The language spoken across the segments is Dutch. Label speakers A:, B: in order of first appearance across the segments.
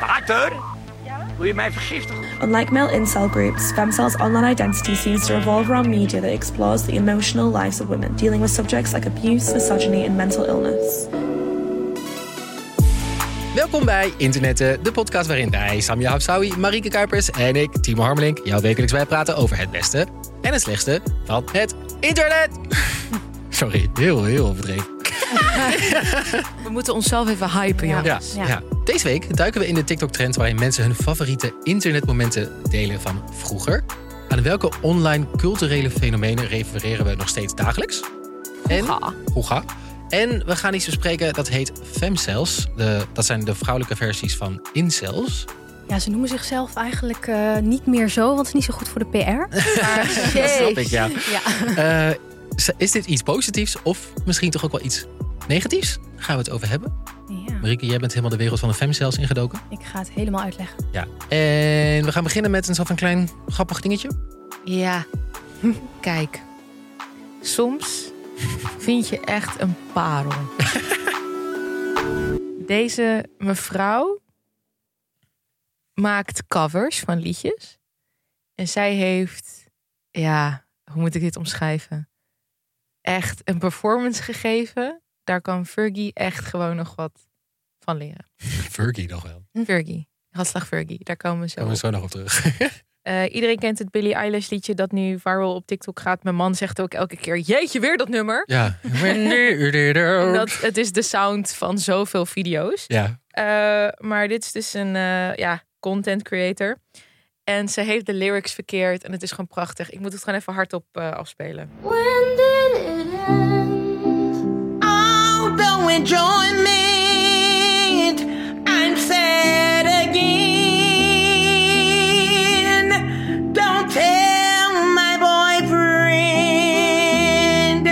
A: Water? Wil je mij vergiftigen?
B: Unlike male incel groups, femcel's online identity seems to revolve around media that explores the emotional lives of women, dealing with subjects like abuse, misogyny, and mental illness.
C: Welkom bij Internetten, de podcast waarin wij, Samia Hapsawi, Marieke Kuipers en ik, Timo Harmelink, jou wekelijks bijpraten over het beste en het slechtste van het internet. Sorry, heel, heel overdreven.
D: We moeten onszelf even hypen,
E: Ja.
D: jongens.
C: Ja, ja. Deze week duiken we in de TikTok-trend waarin mensen hun favoriete internetmomenten delen van vroeger. Aan welke online culturele fenomenen refereren we nog steeds dagelijks? En
D: Hoega.
C: Hoega. En we gaan iets bespreken dat heet femcells. De, dat zijn de vrouwelijke versies van incels.
E: Ja, ze noemen zichzelf eigenlijk eh, niet meer zo, want het is niet zo goed voor de PR. Maar,
C: Dat snap ik, ja.
E: Ja.
C: Eh, z- is dit iets positiefs of misschien toch ook wel iets negatiefs? Daar gaan we het over hebben.
E: ja,
C: Marieke, jij bent helemaal de wereld van de femcells ingedoken.
E: ik ga het helemaal uitleggen.
C: Ja. En we gaan beginnen met een soort van klein grappig dingetje.
D: Ja. Kijk. Soms vind je echt een parel. Deze mevrouw maakt covers van liedjes. En zij heeft, ja, hoe moet ik dit omschrijven? Echt een performance gegeven. Daar kan Fergie echt gewoon nog wat van leren.
C: Fergie nog wel.
D: Fergie, Radslag Fergie, daar komen we
C: Daar
D: zo
C: komen
D: op.
C: we zo nog op terug.
D: Eh, iedereen kent het Billie Eilish liedje dat nu viral op TikTok gaat. Mijn man zegt ook elke keer: Jeetje, weer dat nummer.
C: ja. dat...
D: Dat, het is de sound van zoveel video's.
C: Ja.
D: Eh, maar dit is dus een eh, ja, content creator. En ze heeft de lyrics verkeerd en het is gewoon prachtig. Ik moet het gewoon even hardop eh, afspelen.
F: When did it end?
G: Oh, don't enjoy me. I'm sad again. Don't tell my boyfriend.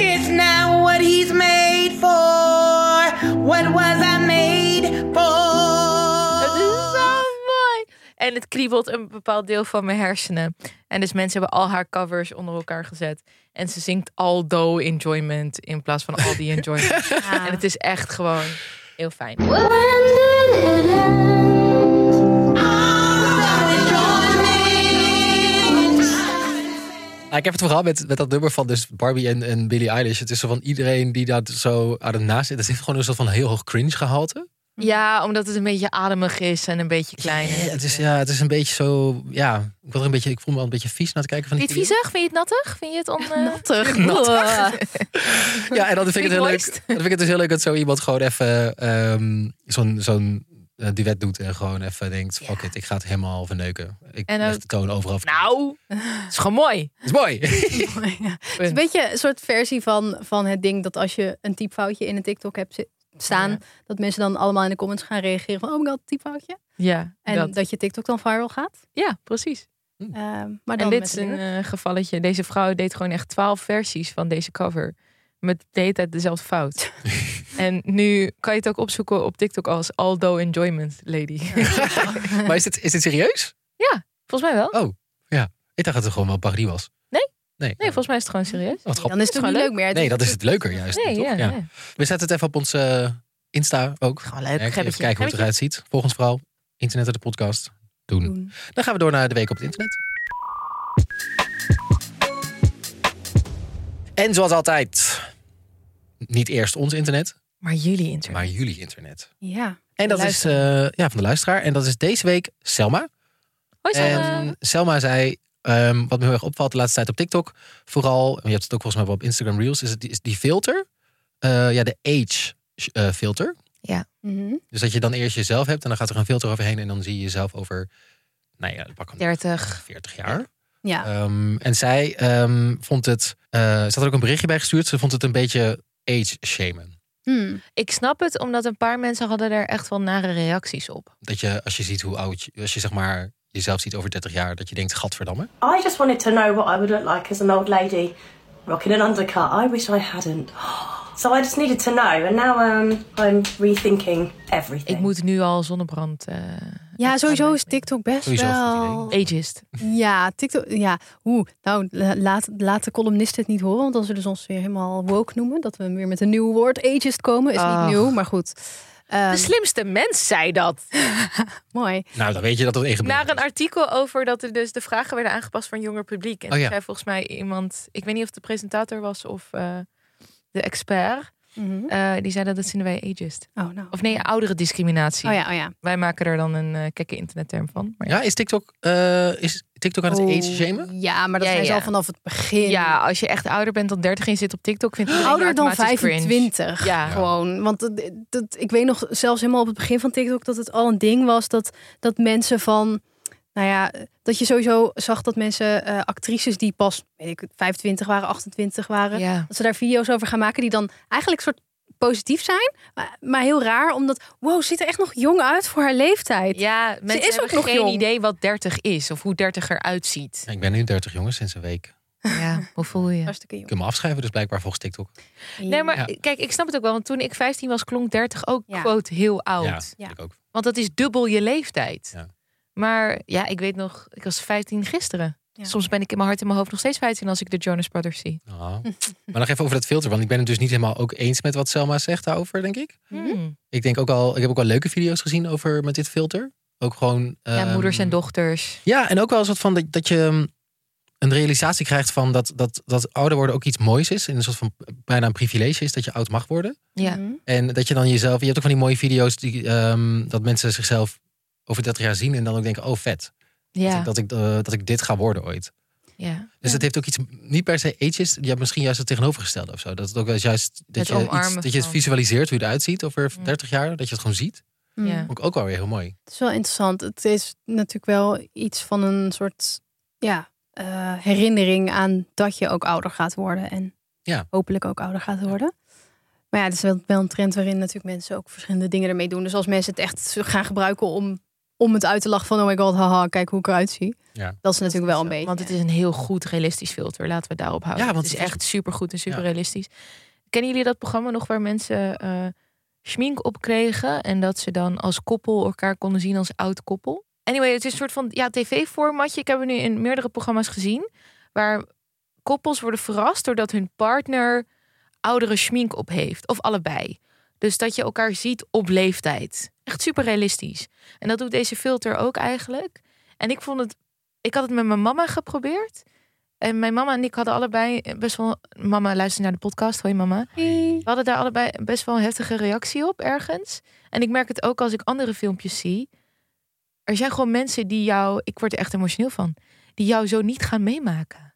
G: It's not what he's made for. What was I made
D: Het
E: Ah.
D: is
G: for?
D: zo mooi. En het kriebelt een bepaald deel van mijn hersenen. En dus mensen hebben al haar covers onder elkaar gezet. En ze zingt all do enjoyment in plaats van all the enjoyment. En het is echt gewoon heel fijn.
E: Mhm.
F: When did it end?
C: Ah, ik heb het vooral met, met dat nummer van dus Barbie en, en Billie Eilish. Het is zo van iedereen die daar zo aan het naast zit. Er zit gewoon een soort van heel hoog cringe gehalte.
D: Ja, omdat het een beetje ademig is en een beetje klein.
C: Ja, het, is, ja, het is een beetje zo... Ja, ik, word er een beetje, ik voel me wel een beetje vies naar te kijken. Van
D: Vind
C: die
D: je het viezig? Vind je het nattig? Vind je het on... eh,
E: Nattig.
C: Ja, en dan vind ik het heel leuk.
D: Tweetboist.
C: Dan vind ik het dus heel leuk dat zo iemand gewoon even ehm, zo'n zo'n eh, duet doet en gewoon even denkt: fuck it, ik ga het helemaal verneuken. Ik
D: En
C: leg
D: ook-
C: de toon overal. af.
D: Nou, het is gewoon mooi.
C: Het is mooi.
E: Het is een beetje een soort versie van, van het ding dat als je een typfoutje in een TikTok hebt zi- staan,
D: Ja.
E: dat mensen dan allemaal in de comments gaan reageren van oh my god, typfoutje.
D: Ja,
E: En dat, je TikTok dan viral gaat.
D: ja precies.
E: Ehm, maar dan
D: En dit
E: met
D: is
E: de
D: een
E: lyrics.
D: eh, gevalletje. Deze vrouw deed gewoon echt twaalf versies van deze cover. Met de hele tijd dezelfde fout. en nu kan je het ook opzoeken op TikTok als Aldo Enjoyment Lady.
C: maar is dit, is dit serieus?
D: volgens mij wel.
C: Ik dacht dat het gewoon wel parodie was.
D: Nee?
C: Nee.
D: Nee, volgens mij is het gewoon serieus.
C: Wat grappig.
E: dan is het
D: is
E: toch niet
D: gewoon
E: leuk meer. Het
C: Nee, dat is het leuker juist.
D: Nee,
C: toch?
D: ja,
C: Ja.
D: ja.
C: We zetten het even op onze eh, Insta ook.
D: Gewoon leuk.
C: Even
D: Gebbetje.
C: kijken hoe het
D: Gebbetje.
C: eruit ziet. Volgens vooral internet en de podcast. Doen.
E: Doen.
C: Dan gaan we door naar de week op het internet. En zoals altijd, niet eerst ons internet,
D: Maar jullie internet.
C: maar jullie internet.
E: Ja.
C: En dat
E: De
C: is eh, ja, van de luisteraar. En dat is deze week Selma.
D: Hoi Sanne.
C: En Selma zei, ehm, wat me heel erg opvalt de laatste tijd op TikTok, vooral, en je hebt het ook volgens mij wel op Instagram Reels, is, het, is die filter, eh, ja, de age eh, filter.
E: Mhm.
C: Dus dat je dan eerst jezelf hebt en dan gaat er een filter overheen en dan zie je jezelf over, nou ja, pak een
D: 30.
C: 40 jaar.
E: Ja.
C: Ehm, en zij ehm, vond het. eh, ze had er ook een berichtje bij gestuurd. Ze vond het een beetje age shamen.
E: Hmm.
D: Ik snap het, omdat een paar mensen hadden er echt wel nare reacties op.
C: Dat je als je ziet hoe oud. je- Als je zeg maar jezelf ziet over 30 jaar. Dat je denkt: Gadverdamme.
H: I just wanted to know what I would look like as an old lady rocking an undercut. I wish I hadn't. So I just needed to know, and now um, I'm rethinking everything.
D: Ik moet nu al zonnebrand. eh
E: Ja, sowieso is
D: aanmerking.
E: TikTok best
C: Sowieso is dat
E: wel...
D: Ageist.
E: Ja, TikTok. Ja, hoe? Nou, la- laat, laat de columnisten het niet horen, want dan zullen ze ons weer helemaal woke noemen. Dat we weer met een nieuw woord, ageist, komen. Is
D: Ach.
E: niet nieuw, maar goed. Ehm,
D: De slimste mens zei dat.
E: mooi.
C: Nou, dan weet je dat het echt
D: Naar
C: gebeurt.
D: een artikel over dat er dus de vragen werden aangepast van jonger publiek. En
C: Oh ja.
D: toen zei volgens mij iemand, ik weet niet of het de presentator was of eh, de expert,
E: Mhm.
D: eh, die zei dat dat vinden wij ageist.
E: Oh, nou.
D: Of nee, oudere discriminatie.
E: Oh ja, oh ja.
D: Wij maken er dan een eh, gekke internetterm van. Maar ja.
C: Ja, is TikTok, eh, is TikTok aan het
E: Oh,
C: age shamen?
E: Ja, maar dat
D: Ja,
E: zijn ze
D: ja.
E: al vanaf het begin.
D: ja, als je echt ouder bent dan 30 en je zit op TikTok, vindt het
E: Ouder dan 25.
D: Ja.
E: Gewoon. Want dat, dat, ik weet nog zelfs helemaal op het begin van TikTok dat het al een ding was dat, dat mensen van. Nou ja, dat je sowieso zag dat mensen, eh, actrices die pas, weet ik, 25 waren, 28 waren,
D: Ja.
E: dat ze daar video's over gaan maken die dan eigenlijk soort positief zijn, maar, maar heel raar, omdat, wow, ze ziet er echt nog jong uit voor haar leeftijd.
D: Ja, mensen
E: is ook
D: hebben
E: nog
D: geen
E: jong.
D: idee wat 30 is of hoe 30 eruit ziet.
C: Ik ben nu 30 jongens sinds een week.
D: Ja, hoe voel je?
E: Hartstikke
C: Ik
E: jong.
C: kan me afschrijven, dus blijkbaar volgens TikTok.
D: Nee, maar
C: Ja.
D: kijk, ik snap het ook wel. Want toen ik 15 was, klonk 30 ook
E: Ja.
D: quote heel oud.
C: Ja,
E: Ja.
C: ik ook.
D: Want dat is dubbel je leeftijd.
C: Ja.
D: Maar ja, ik weet nog, ik was 15 gisteren.
E: Ja.
D: Soms ben ik in mijn hart en mijn hoofd nog steeds 15 als ik de Jonas Brothers zie.
C: Ah. maar nog even over dat filter, want ik ben het dus niet helemaal ook eens met wat Selma zegt daarover, denk ik.
D: Hmm.
C: Ik denk ook al, ik heb ook wel leuke video's gezien over met dit filter. Ook gewoon.
D: Ja,
C: ehm,
D: moeders en dochters.
C: Ja, en ook wel een soort van dat, dat je ehm, een realisatie krijgt van dat, dat, dat ouder worden ook iets moois is. En een soort van bijna een privilege is dat je oud mag worden.
D: Ja.
E: Mhm.
C: En dat je dan jezelf, je hebt ook van die mooie video's die, ehm, dat mensen zichzelf over 30 jaar zien en dan ook denken, oh vet,
D: Ja.
C: dat, ik, eh, dat ik dit ga worden ooit.
D: ja.
C: Dus dat heeft ook iets, niet per se ages, je hebt misschien juist het tegenovergestelde of zo. Dat het ook wel eens juist, dat,
D: Het
C: je, iets,
D: omarmen
C: dat je het
D: van.
C: visualiseert hoe je eruit ziet over
D: Mm.
C: 30 jaar. Dat je het gewoon ziet.
D: Ja.
C: Vond ik ook wel weer heel mooi.
E: Het is wel interessant. Het is natuurlijk wel iets van een soort ja, eh, herinnering aan dat je ook ouder gaat worden. En
C: Ja.
E: hopelijk ook ouder gaat worden. Maar ja, het is wel, wel een trend waarin natuurlijk mensen ook verschillende dingen ermee doen. Dus als mensen het echt gaan gebruiken om, om het uit te lachen van... oh my god, haha, kijk hoe ik eruit zie.
C: Ja.
E: Dat is natuurlijk wel een beetje...
D: Want het is een heel goed realistisch filter. Laten we het daarop houden.
C: Ja, want
D: het is
C: het is-
D: echt supergoed en super
C: Ja.
D: realistisch. Kennen jullie dat programma nog waar mensen eh schmink op kregen? En dat ze dan als koppel elkaar konden zien als oud koppel? Anyway, het is een soort van ja, tv-formatje. Ik heb het nu in meerdere programma's gezien. Waar koppels worden verrast doordat hun partner oudere schmink op heeft. Of allebei. Dus dat je elkaar ziet op leeftijd. Echt super realistisch. En dat doet deze filter ook eigenlijk. En ik vond het. Ik had het met mijn mama geprobeerd. En mijn mama en ik hadden allebei best wel. Mama luisterde naar de podcast. Hoi mama. We hadden daar allebei best wel een heftige reactie op ergens. En ik merk het ook als ik andere filmpjes zie. Er zijn gewoon mensen die jou. Ik word er echt emotioneel van. Die jou zo niet gaan meemaken.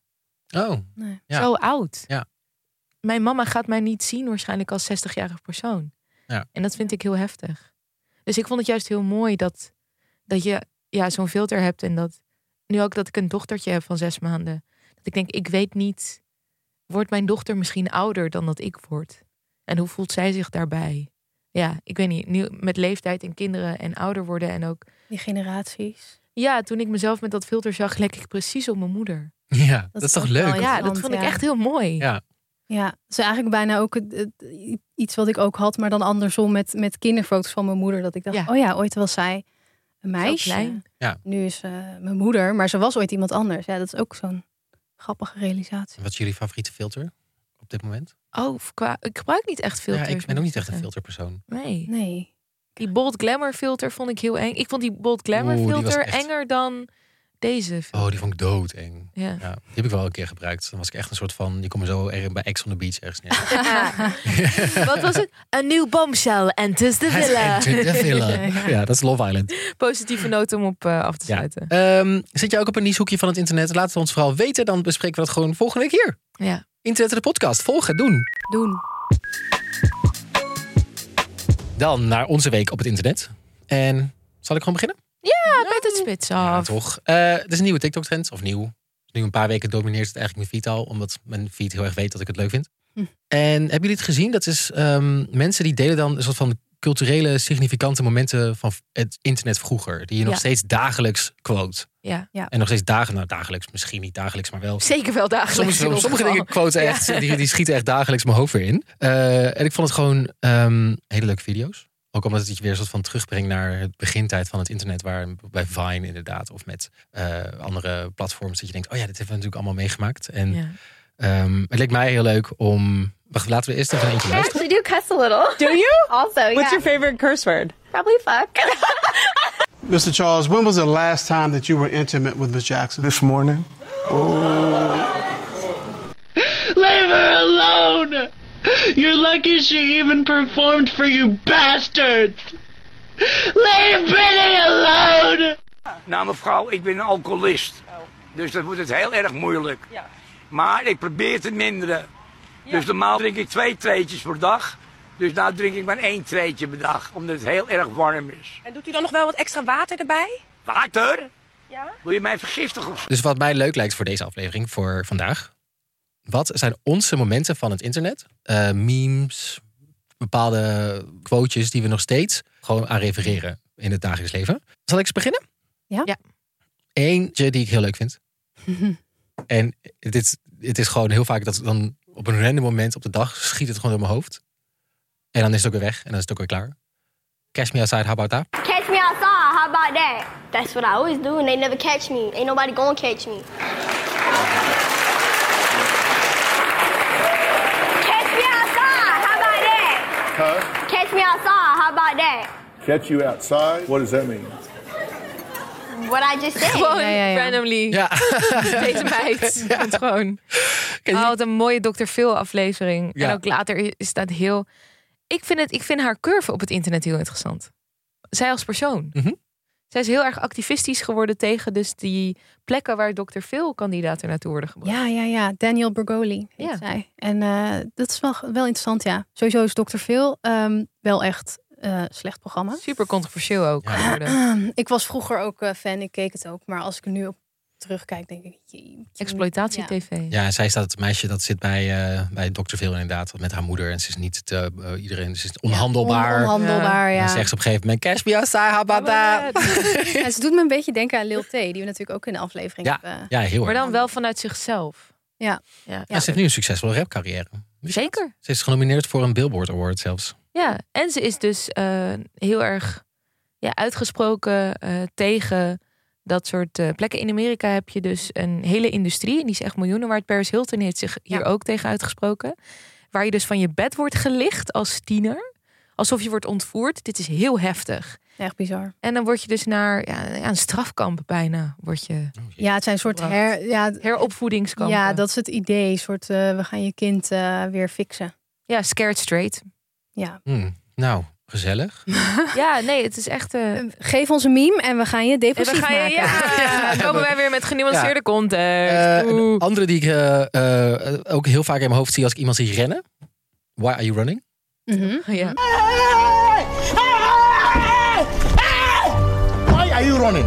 C: Oh, Ja.
D: Zo oud.
C: Ja.
D: Mijn mama gaat mij niet zien waarschijnlijk als 60-jarig persoon.
C: Ja.
D: En dat vind ik heel heftig. Dus ik vond het juist heel mooi dat, dat je ja, zo'n filter hebt. En dat nu ook dat ik een dochtertje heb van zes maanden. Dat ik denk, ik weet niet, wordt mijn dochter misschien ouder dan dat ik word? En hoe voelt zij zich daarbij? Ja, ik weet niet. Nu met leeftijd en kinderen en ouder worden en ook.
E: Die generaties.
D: Ja, toen ik mezelf met dat filter zag, leek ik precies op mijn moeder.
C: ja, dat,
E: is
C: is toch
E: ook wel
C: leuk?
E: heel-
D: Ja, dat
E: Interessant,
D: vond ik
E: ja.
D: echt heel mooi.
C: Ja.
E: Ja, het is eigenlijk bijna ook het- het- iets wat ik ook had, maar dan andersom met, met kinderfoto's van mijn moeder. Dat ik dacht,
D: Ja.
E: oh ja, ooit was zij een meisje.
D: klein.
C: Ja.
E: Nu is eh, mijn moeder, maar ze was ooit iemand anders. Ja, dat is ook zo'n grappige realisatie.
C: Wat is jullie favoriete filter op dit moment?
D: Oh, qua, ik gebruik niet echt filters.
C: ja, ik ben ook
D: moet
C: niet echt een
D: zeggen.
C: filterpersoon.
D: Nee.
E: Nee.
D: Die Bold Glamour filter vond ik heel eng. Ik vond die Bold Glamour
C: Oeh, die was
D: filter
C: echt-
D: enger dan deze
C: Oh,
D: filter.
C: die vond ik doodeng.
D: Ja.
C: Ja, die heb ik wel een keer gebruikt. Dan was ik echt een soort van, je komt zo er- bij Ex on the Beach ergens neer.
D: Wat was het? Een nieuw bombshell enters the villa.
C: Enter the villa. Ja, dat is Love Island.
D: Positieve noot om op eh, af te
C: Ja.
D: sluiten.
C: Ehm, zit jij ook op een nichehoekje van het internet? Laat het ons vooral weten. Dan bespreken we dat gewoon volgende week hier.
D: Ja.
C: Internet de podcast. Volgen, doen.
E: Doen.
C: Dan naar onze week op het internet. En zal ik gewoon beginnen?
D: Ah, met het spits
C: Ja,
D: af.
C: toch. Eh, Het is een nieuwe TikTok-trend. Of nieuw. Nu een paar weken domineert het eigenlijk mijn feed al. Omdat mijn feed heel erg weet dat ik het leuk vind.
E: Hm.
C: En hebben jullie het gezien? Dat is ehm, mensen die delen dan een soort van culturele significante momenten van het internet vroeger. Die je nog
D: Ja.
C: steeds dagelijks quote.
D: Ja.
C: En nog steeds dagen, nou dagelijks, misschien niet dagelijks, maar wel
D: Zeker wel dagelijks.
C: Soms,
D: in ons
C: sommige
D: geval.
C: dingen quote
D: Ja.
C: echt, die, die schieten echt dagelijks mijn hoofd weer in. Eh, en ik vond het gewoon ehm, hele leuke video's. Ook omdat het je weer een soort van terugbrengt naar het begintijd van het internet. Waar bij Vine inderdaad, of met eh, andere platforms. Dat je denkt, oh ja, dit hebben we natuurlijk allemaal meegemaakt. En
D: Ja.
C: ehm, het leek mij heel leuk om Wacht, laten we eerst even eentje
I: I
C: luisteren.
I: actually do cuss a little.
J: Do you?
I: Also,
J: What's
I: yeah,
J: your favorite curse word?
I: probably fuck.
K: Mr. Charles, when was the last time that you were intimate with Miss Jackson? This morning.
G: Leave her alone! You're lucky she even performed for you bastards! Leave Benny alone!
A: Nou mevrouw, ik ben een alcoholist. Dus dat wordt het heel erg moeilijk.
J: Oh. Ja.
A: Maar ik probeer te minderen. Dus normaal drink ik twee treetjes per dag. Dus nu drink ik maar één treetje per dag. Omdat het heel erg warm is.
J: En doet u dan nog wel wat extra water erbij?
A: Water? Wil je mij vergiftigen of zo?
C: Dus wat mij leuk lijkt voor deze aflevering, voor vandaag. Wat zijn onze momenten van het internet? Eh, memes, bepaalde quotejes die we nog steeds gewoon aan refereren in het dagelijks leven. Zal ik eens beginnen?
E: Ja.
D: Ja.
C: Eentje die ik heel leuk vind. en dit, is- het is gewoon heel vaak dat dan op een random moment op de dag schiet het gewoon door mijn hoofd. En dan is het ook weer weg en dan is het ook weer klaar. Cash me outside, how about that?
F: Catch me outside, how about that? That's what I always do, and they never catch me. Ain't nobody gonna catch me. Catch me outside, how about that? Huh? Catch me outside, how about that?
K: Catch you outside? What does that mean?
F: What I just said.
D: Gewoon
E: Ja, ja, ja.
D: randomly.
C: Ja,
D: Deze meid. Want gewoon.
C: Ken je-
D: Oh, wat een mooie Dr. Phil aflevering.
C: Ja.
D: En ook later is- is dat heel... Ik vind, het, ik vind haar curve op het internet heel interessant. Zij als persoon.
C: Mhm.
D: Zij is heel erg activistisch geworden tegen dus die plekken waar Dr. Phil kandidaten naartoe worden gebracht.
E: Ja, ja, ja. Daniel Bergoli heet
D: Ja.
E: zij. En eh, dat is wel, wel interessant, ja. Sowieso is Dr. Phil ehm, wel echt eh, slecht programma. Hm,
D: Super controversieel ook.
C: Ja.
D: geworden.
E: Ik was vroeger ook eh, fan, ik keek het ook. Maar als ik er nu op terugkijk, denk ik... jeetje.
D: Exploitatie
E: Ja.
D: TV.
C: Ja, en zij is dat meisje dat zit bij, eh, bij Dr. Phil inderdaad. Met haar moeder. En ze is niet te, eh, iedereen. Ze is onhandelbaar.
E: On- Onhandelbaar,
C: En
E: ja.
C: dan zegt ze op een gegeven moment: Cash me outside, how about that?
E: En ze doet me een beetje denken aan Lil T, die we natuurlijk ook in de aflevering
C: Ja,
E: hebben.
C: ja heel erg.
D: Maar dan wel vanuit zichzelf.
E: Ja.
D: ja.
C: Ja, ze heeft nu een succesvolle rapcarrière. Wist je dat?
D: Zeker.
C: Ze is genomineerd voor een Billboard Award zelfs.
D: Ja, en ze is dus eh, heel erg ja, uitgesproken eh, tegen dat soort eh, plekken. In Amerika heb je dus een hele industrie, en die is echt miljoenen waard. Paris Hilton heeft zich hier ook tegen uitgesproken. Waar je dus van je bed wordt gelicht als tiener. Alsof je wordt ontvoerd. Dit is heel heftig.
E: Echt
C: Oh,
E: bizar.
D: En dan word je dus naar ja, ja, een strafkamp bijna. Word je
E: Ja, het zijn een soort her... Ja,
D: heropvoedingskamp.
E: ja, dat is het idee. Een soort, eh, we gaan je kind eh, weer fixen.
D: ja, scared straight.
E: Ja.
C: Hmm, Nou, gezellig.
D: ja, nee, het is echt. eh,
E: Geef ons een meme en we gaan je
D: en dan
E: depressief
D: ga je,
E: maken.
D: ja, dan komen wij weer met genuanceerde context.
C: Eh,
D: Oeh.
C: een andere die ik eh, eh, ook heel vaak in mijn hoofd zie als ik iemand zie rennen. Why are you running?
E: Mhm.
D: Oh, Ja.
K: Why are you running?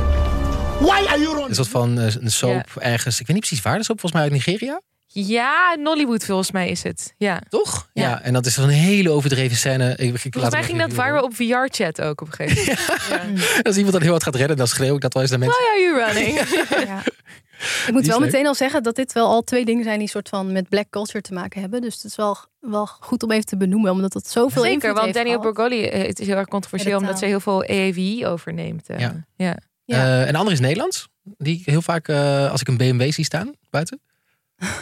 K: Why are you
C: Een
K: running?
C: soort van eh, een soap ergens. Ik weet niet precies waar de soap, volgens mij uit Nigeria.
D: Ja, Nollywood volgens mij is het. Ja.
C: Toch? Ja,
D: Ja.
C: en dat is een hele overdreven scène. Ik, ik laat
D: Volgens mij
C: hem
D: ging
C: even
D: dat viral op VR-chat ook op een gegeven moment.
C: Als iemand dan heel hard gaat redden, dan schreeuw ik dat wel eens naar mensen.
D: Why are you running?
E: Ja. Ik moet
C: is
E: wel
C: leuk.
E: meteen al zeggen dat dit wel al twee dingen zijn die soort van met black culture te maken hebben. Dus het is wel, wel goed om even te benoemen, omdat dat zoveel
D: Zeker,
E: invloed
D: want
E: heeft
D: Daniel
E: gehad.
D: Borgoli, eh, het is heel erg controversieel
E: Ja, de
D: omdat ze
E: taal.
D: heel veel EAVI overneemt. eh.
C: Ja.
D: Ja.
E: Ja.
C: Eh, en de andere is Nederlands. Die ik heel vaak, eh, als ik een BMW zie staan buiten.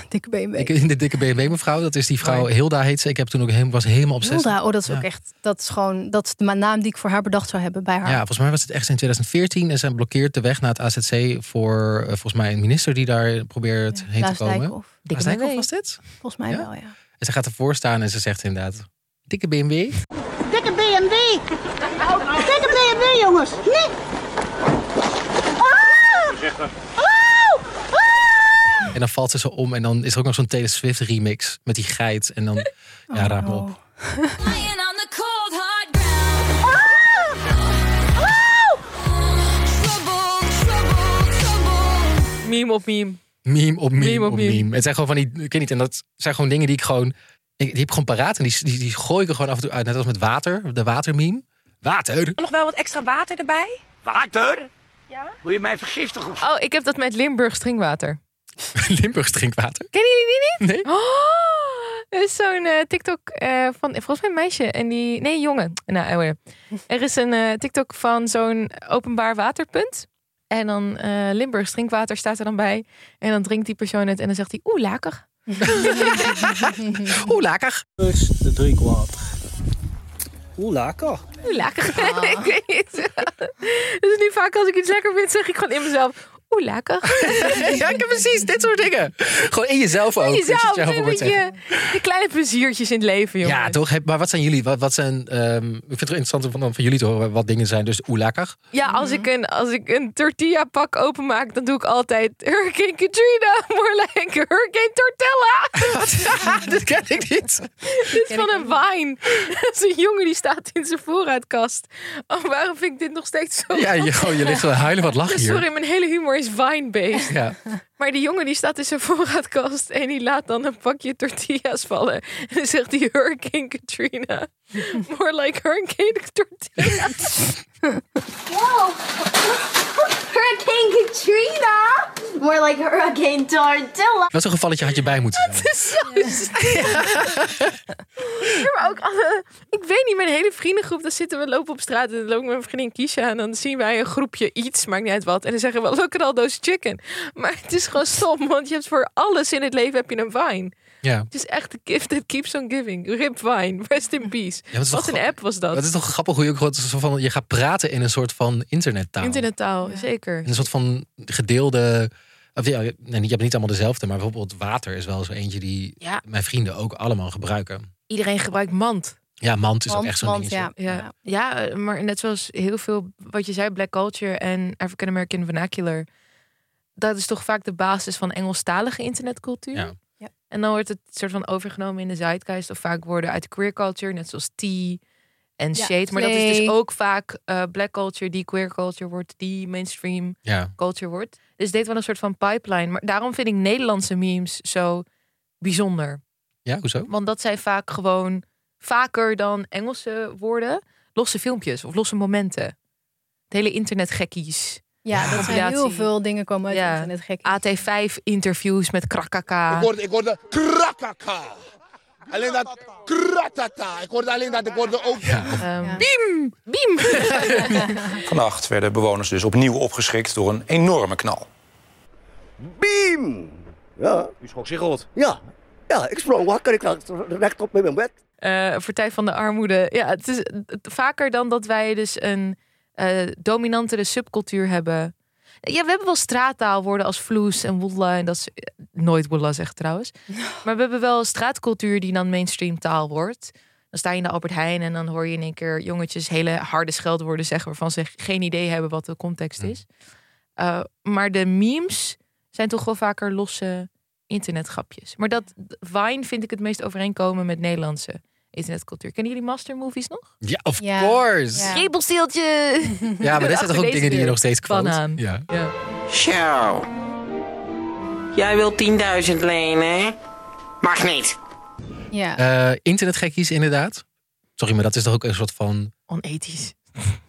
E: Dikke BMW.
C: Ik, de dikke BMW mevrouw, dat is die vrouw Hilda heet ze. Ik heb toen ook helemaal, was helemaal obsessief.
E: Hilda, oh, dat is
C: Ja.
E: ook echt, dat is gewoon, dat is de ma- naam die ik voor haar bedacht zou hebben bij haar.
C: Ja, volgens mij was het echt in 2014. En zij blokkeert de weg naar het AZC voor eh, volgens mij een minister die daar probeert heen te
E: Klaas
C: komen.
E: Dijkhoff.
C: Klaas Dijkhoff was dit?
E: Volgens mij
C: Ja?
E: wel, ja.
C: En ze gaat ervoor staan en ze zegt inderdaad, dikke BMW.
G: Dikke BMW! Dikke BMW, jongens! Nee!
C: En dan valt ze zo om en dan is er ook nog zo'n Taylor Swift remix met die geit. En dan, ja, raad me
E: Oh.
C: op.
F: Lying on the cold hard ground. Trouble, trouble, trouble.
D: Meme op meme.
C: Meme op meme,
D: Meme
C: op,
D: op
C: meme.
D: meme.
C: Het zijn gewoon van die, ik weet niet, en dat zijn gewoon dingen die ik gewoon, ik, die heb ik gewoon paraat en die, die, die gooi ik er gewoon af en toe uit. Net als met water, de watermeme. Water!
J: Nog wel wat extra water erbij?
A: Water? Wil je mij vergiftigen of zo?
D: Oh, ik heb dat met Limburg stringwater.
C: Limburgs drinkwater.
D: Ken jullie die niet?
C: Nee.
D: Oh, er is zo'n eh, TikTok eh, van, volgens mij een meisje en die, nee jongen. Nou, anyway. er is een eh, TikTok van zo'n openbaar waterpunt. En dan eh Limburgs drinkwater staat er dan bij. En dan drinkt die persoon het en dan zegt hij, oeh, laker.
C: Hoe lekker.
I: Dus de drinkwater. Hoe lekker.
D: Lekker. ik weet niet. Dus nu vaak als ik iets lekker vind, zeg ik gewoon in mezelf... Oeh, lekker.
C: ja, ik heb precies dit soort dingen. Gewoon in jezelf ook.
D: In
C: is het
D: jezelf.
C: je
D: nee,
C: hoort
D: weet je,
C: zeggen.
D: die kleine pleziertjes in het leven, jongen.
C: Ja, toch? Heb- Maar wat zijn jullie? Wat, wat zijn, ehm, ik vind het wel interessant om van, van jullie te horen wat dingen zijn. Dus hoe lekker.
D: Ja, als ik, een, als ik een tortilla pak openmaak, dan doe ik altijd Hurricane Katrina, more like Hurricane Tortella.
C: Dit ken ik niet.
D: Dit is van een wijn. Dat is een jongen die staat in zijn voorraadkast. Oh, waarom vind ik dit nog steeds zo
C: Ja, je,
D: grappig?
C: goh, je ligt wel huilen wat lachen hier.
D: Sorry, mijn hele humor is wine-based.
C: Ja.
D: Maar die jongen die staat in zijn voorraadkast en die laat dan een pakje tortillas vallen. En dan zegt hij Hurricane Katrina. More like Hurricane Tortilla.
F: Whoa! Hurricane Katrina! More like Hurricane Tortilla.
C: Wat zo'n gevalletje had je bij moeten zijn.
D: Het is zo Ja, maar ook alle, ik weet niet, mijn hele vriendengroep, dan zitten we lopen op straat en dan loop ik met mijn vriendin Kisha en dan zien wij een groepje iets, maakt niet uit wat. En dan zeggen we, look at all those chicken. Maar het is gewoon stom, want je hebt voor alles in het leven heb je een wijn.
C: Ja.
D: Het is echt de gift that keeps on giving. Rip wine, rest in peace.
C: Ja, dat is
D: wat
C: toch
D: een app was dat.
C: Dat is toch grappig hoe je ook gewoon zo van, je gaat praten in een soort van internettaal.
D: Internettaal, zeker.
C: In een soort van gedeelde. Of ja, nee, niet- je hebt niet allemaal dezelfde, maar bijvoorbeeld water is wel zo eentje die
D: Ja.
C: mijn vrienden ook allemaal gebruiken.
D: Iedereen gebruikt mand.
C: Ja, mand is ook echt zo'n
E: mand,
C: dingetje.
E: ja.
D: Ja. ja, eh, maar net zoals heel veel wat je zei, black culture en African American vernacular. Dat is toch vaak de basis van Engelstalige internetcultuur.
C: Ja.
E: Ja.
D: En dan wordt het soort van overgenomen in de zeitgeist. Of vaak woorden uit de queer culture, net zoals tea en
E: Ja,
D: shade. Maar dat is dus
E: slay.
D: ook vaak eh, black culture die queer culture wordt, die mainstream
C: Ja.
D: culture wordt. Dus dit wel een soort van pipeline. Maar daarom vind ik Nederlandse memes zo bijzonder.
C: Ja, hoezo?
D: Want dat zijn vaak gewoon vaker dan Engelse woorden. Losse filmpjes of losse momenten. Het hele internetgekkies.
E: Ja, dat zijn heel
D: Compilatie.
E: veel dingen komen uit
D: Ja.
E: internet gek.
F: Ah.
D: AT5 interviews met krakaka.
L: Ik hoorde, ik hoorde krakaka. Alleen dat kratata. Ik hoorde alleen dat, ik hoorde ook...
D: Biem! Biem!
M: Vannacht werden bewoners dus opnieuw opgeschrikt door een enorme knal.
N: Biem! Ja. U schrok zich rot? Ja. Ja, ik sprong wakker. Ik lag recht op met mijn bed.
D: Eh, Partij van de Armoede. Ja, het is het- vaker dan dat wij dus een eh, dominantere subcultuur hebben. Ja, we hebben wel straattaalwoorden als vloes en wolla. En dat is eh, nooit wolla zegt trouwens. Maar we hebben wel straatcultuur die dan mainstream taal wordt. Dan sta je in de Albert Heijn en dan hoor je in één keer jongetjes hele harde scheldwoorden zeggen waarvan ze geen idee hebben wat de context is. Eh, maar de memes zijn toch wel vaker losse internetgrapjes. Maar dat Vine vind ik het meest overeenkomen met Nederlandse internetcultuur. Kennen jullie mastermovies nog?
C: Ja, of course. Ja,
D: Kriebelsteeltje!
C: maar dat zijn toch ook dingen die je nog steeds quote?
D: Banaan.
C: Ja.
G: Zo. Jij wilt 10.000 lenen, hè? Mag niet.
E: Ja.
C: Eh, internetgekkies inderdaad. Sorry, maar dat is toch ook een soort van...
D: Onethisch.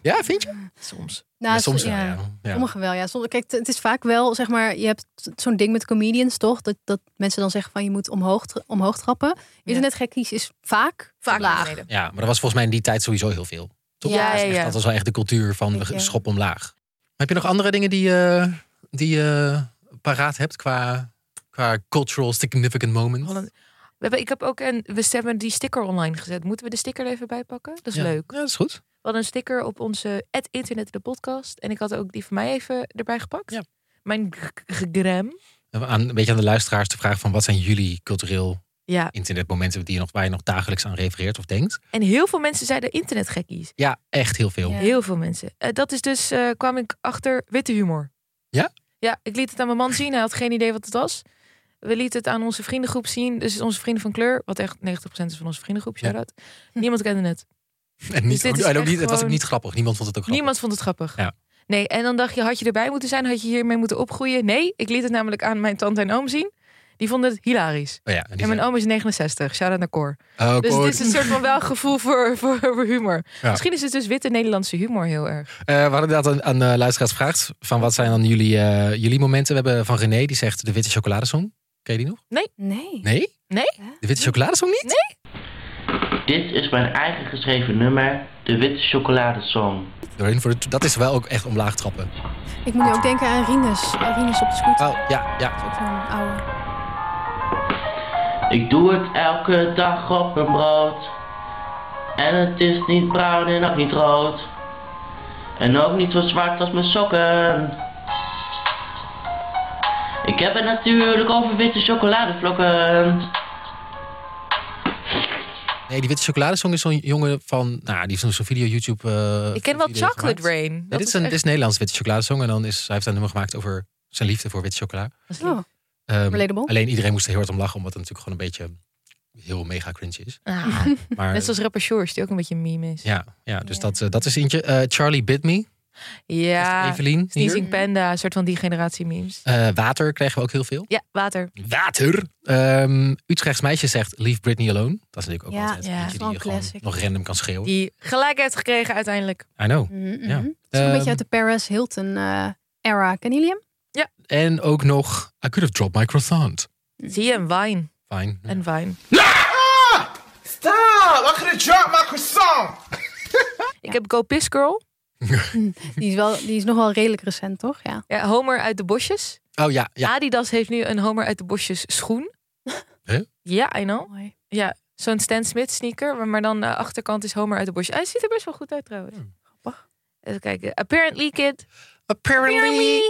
C: Ja, vind je?
D: Soms.
E: Nou,
C: Ja, soms
E: so-
C: wel, ja. Ja.
E: Sommigen wel, ja. Sommige, kijk, t- het is vaak wel, zeg maar, je hebt t- zo'n ding met comedians, toch? Dat, dat mensen dan zeggen van je moet omhoog, tra- omhoog trappen. Internetgekkies is vaak, vaak laag.
C: Ja, maar dat was volgens mij in die tijd sowieso heel veel. Toch?
E: Ja,
C: dat, is
E: ja,
C: echt,
E: ja.
C: dat was wel echt de cultuur van
E: Weet je.
C: we schop omlaag. Maar heb je nog andere dingen die je die, je paraat hebt qua, qua cultural significant moment?
D: Holland- We hebben, ik heb ook een, we hebben die sticker online gezet. Moeten we de sticker er even bij pakken? Dat is
C: Ja.
D: leuk.
C: Ja, dat is goed.
D: We hadden een sticker op onze het internet de podcast. En ik had ook die van mij even erbij gepakt. Mijn g- g- gram.
C: Aan, een beetje aan de luisteraars te vragen van wat zijn jullie cultureel
D: Ja.
C: internetmomenten die je nog, waar je nog dagelijks aan refereert of denkt?
D: En heel veel mensen zeiden internetgekkies.
C: Ja, echt heel veel.
D: Heel veel mensen. Eh, dat is dus, eh, kwam ik achter witte humor.
C: Ja?
D: Ja, ik liet het aan mijn man zien. Hij had geen idee wat het was. We lieten het aan onze vriendengroep zien. Dus onze vrienden van kleur, wat echt 90% is van onze vriendengroep, shout out. Niemand kende het.
C: En, niet,
D: Dus dit is
C: en ook niet,
D: echt
C: het was ook
D: gewoon-
C: niet grappig. Niemand vond het ook grappig.
D: Niemand vond het grappig.
C: Ja.
D: Nee, en dan dacht je, had je erbij moeten zijn? Had je hiermee moeten opgroeien? Nee, ik liet het namelijk aan mijn tante en oom zien. Die vonden het hilarisch.
C: Oh ja, en die
D: en mijn oom is 69, shout-out naar Cor.
C: Oh,
D: dus
C: Cor.
D: het is een soort van wel gevoel voor, voor, voor humor.
C: Ja.
D: Misschien is het dus witte Nederlandse humor heel erg.
C: Eh, we hadden dat aan, aan eh, luisteraars gevraagd. Van wat zijn dan jullie, eh, jullie momenten? We hebben van René, die zegt de witte chocoladesong. Ken je die nog?
D: Nee.
E: Nee.
C: Nee?
D: Nee?
C: De witte chocoladesong niet?
D: Nee.
O: Dit is mijn eigen geschreven nummer, de Witte Chocoladesong.
C: Doorheen voor de- dat is wel ook echt omlaag trappen.
E: Ik moet nu
C: Ah.
E: ook denken aan Rinus. Aan Rinus op de scooter.
C: Oh, ja, ja.
E: Zo'n oude.
O: Ik doe het elke dag op mijn brood. En het is niet bruin en ook niet rood. En ook niet zo zwart als mijn sokken. Ik heb het natuurlijk over witte chocoladevlokken.
C: Nee, die witte chocoladesong is zo'n jongen van... Nou, die heeft zo'n- zo'n video YouTube... eh,
D: Ik ken wel
C: video
D: Chocolate
C: gemaakt.
D: Rain.
C: Nee,
D: Dat
C: dit, is
D: is
C: een,
D: echt-
C: dit is een Nederlands witte chocoladesong. En dan is, hij heeft een nummer gemaakt over zijn liefde voor witte chocola.
E: Oh.
C: Ehm,
E: Relatable.
C: alleen iedereen moest er heel hard om lachen, omdat het natuurlijk gewoon een beetje heel mega cringe is.
D: Ah,
C: Maar-
D: Net zoals rapper Shores, die ook een beetje een meme is.
C: Ja, ja dus Dat, eh, dat is eentje. Eh, Charlie Bit Me.
D: Ja,
C: Evelien
D: Sneezing
C: hier?
D: Panda, een soort van die generatie memes.
C: Eh, water kregen we ook heel veel.
D: Ja, water.
C: Water. Ehm, Utrechts meisje zegt Leave Britney Alone. Dat is natuurlijk ook
D: Ja,
C: altijd
D: ja.
C: eentje die
D: Wel
C: je gewoon
D: classic.
C: nog random kan schreeuwen.
D: Die gelijk heeft gekregen uiteindelijk.
C: I know.
E: Mhm.
C: Ja.
E: Het is een
C: Ehm,
E: beetje uit de Paris Hilton eh, era. Kennen jullie hem?
C: En ook nog I could have dropped my croissant.
D: Zie je, een wine.
C: Fijn.
D: Een wine.
L: Ah! Stop! I could have dropped my croissant.
D: Ik heb Go Piss Girl.
E: Die is, wel, die is nog wel redelijk recent, toch? Ja.
D: Ja, Homer uit de bosjes.
C: Oh ja, ja.
D: Adidas heeft nu een Homer uit de bosjes schoen.
C: Hè?
D: Ja, I know. Ja, zo'n Stan Smith sneaker. maar- Maar dan de achterkant is Homer uit de bosjes. Hij ziet er best wel goed uit trouwens.
C: Hmm.
D: Grappig. Even kijken. Apparently Kid.
C: Apparently.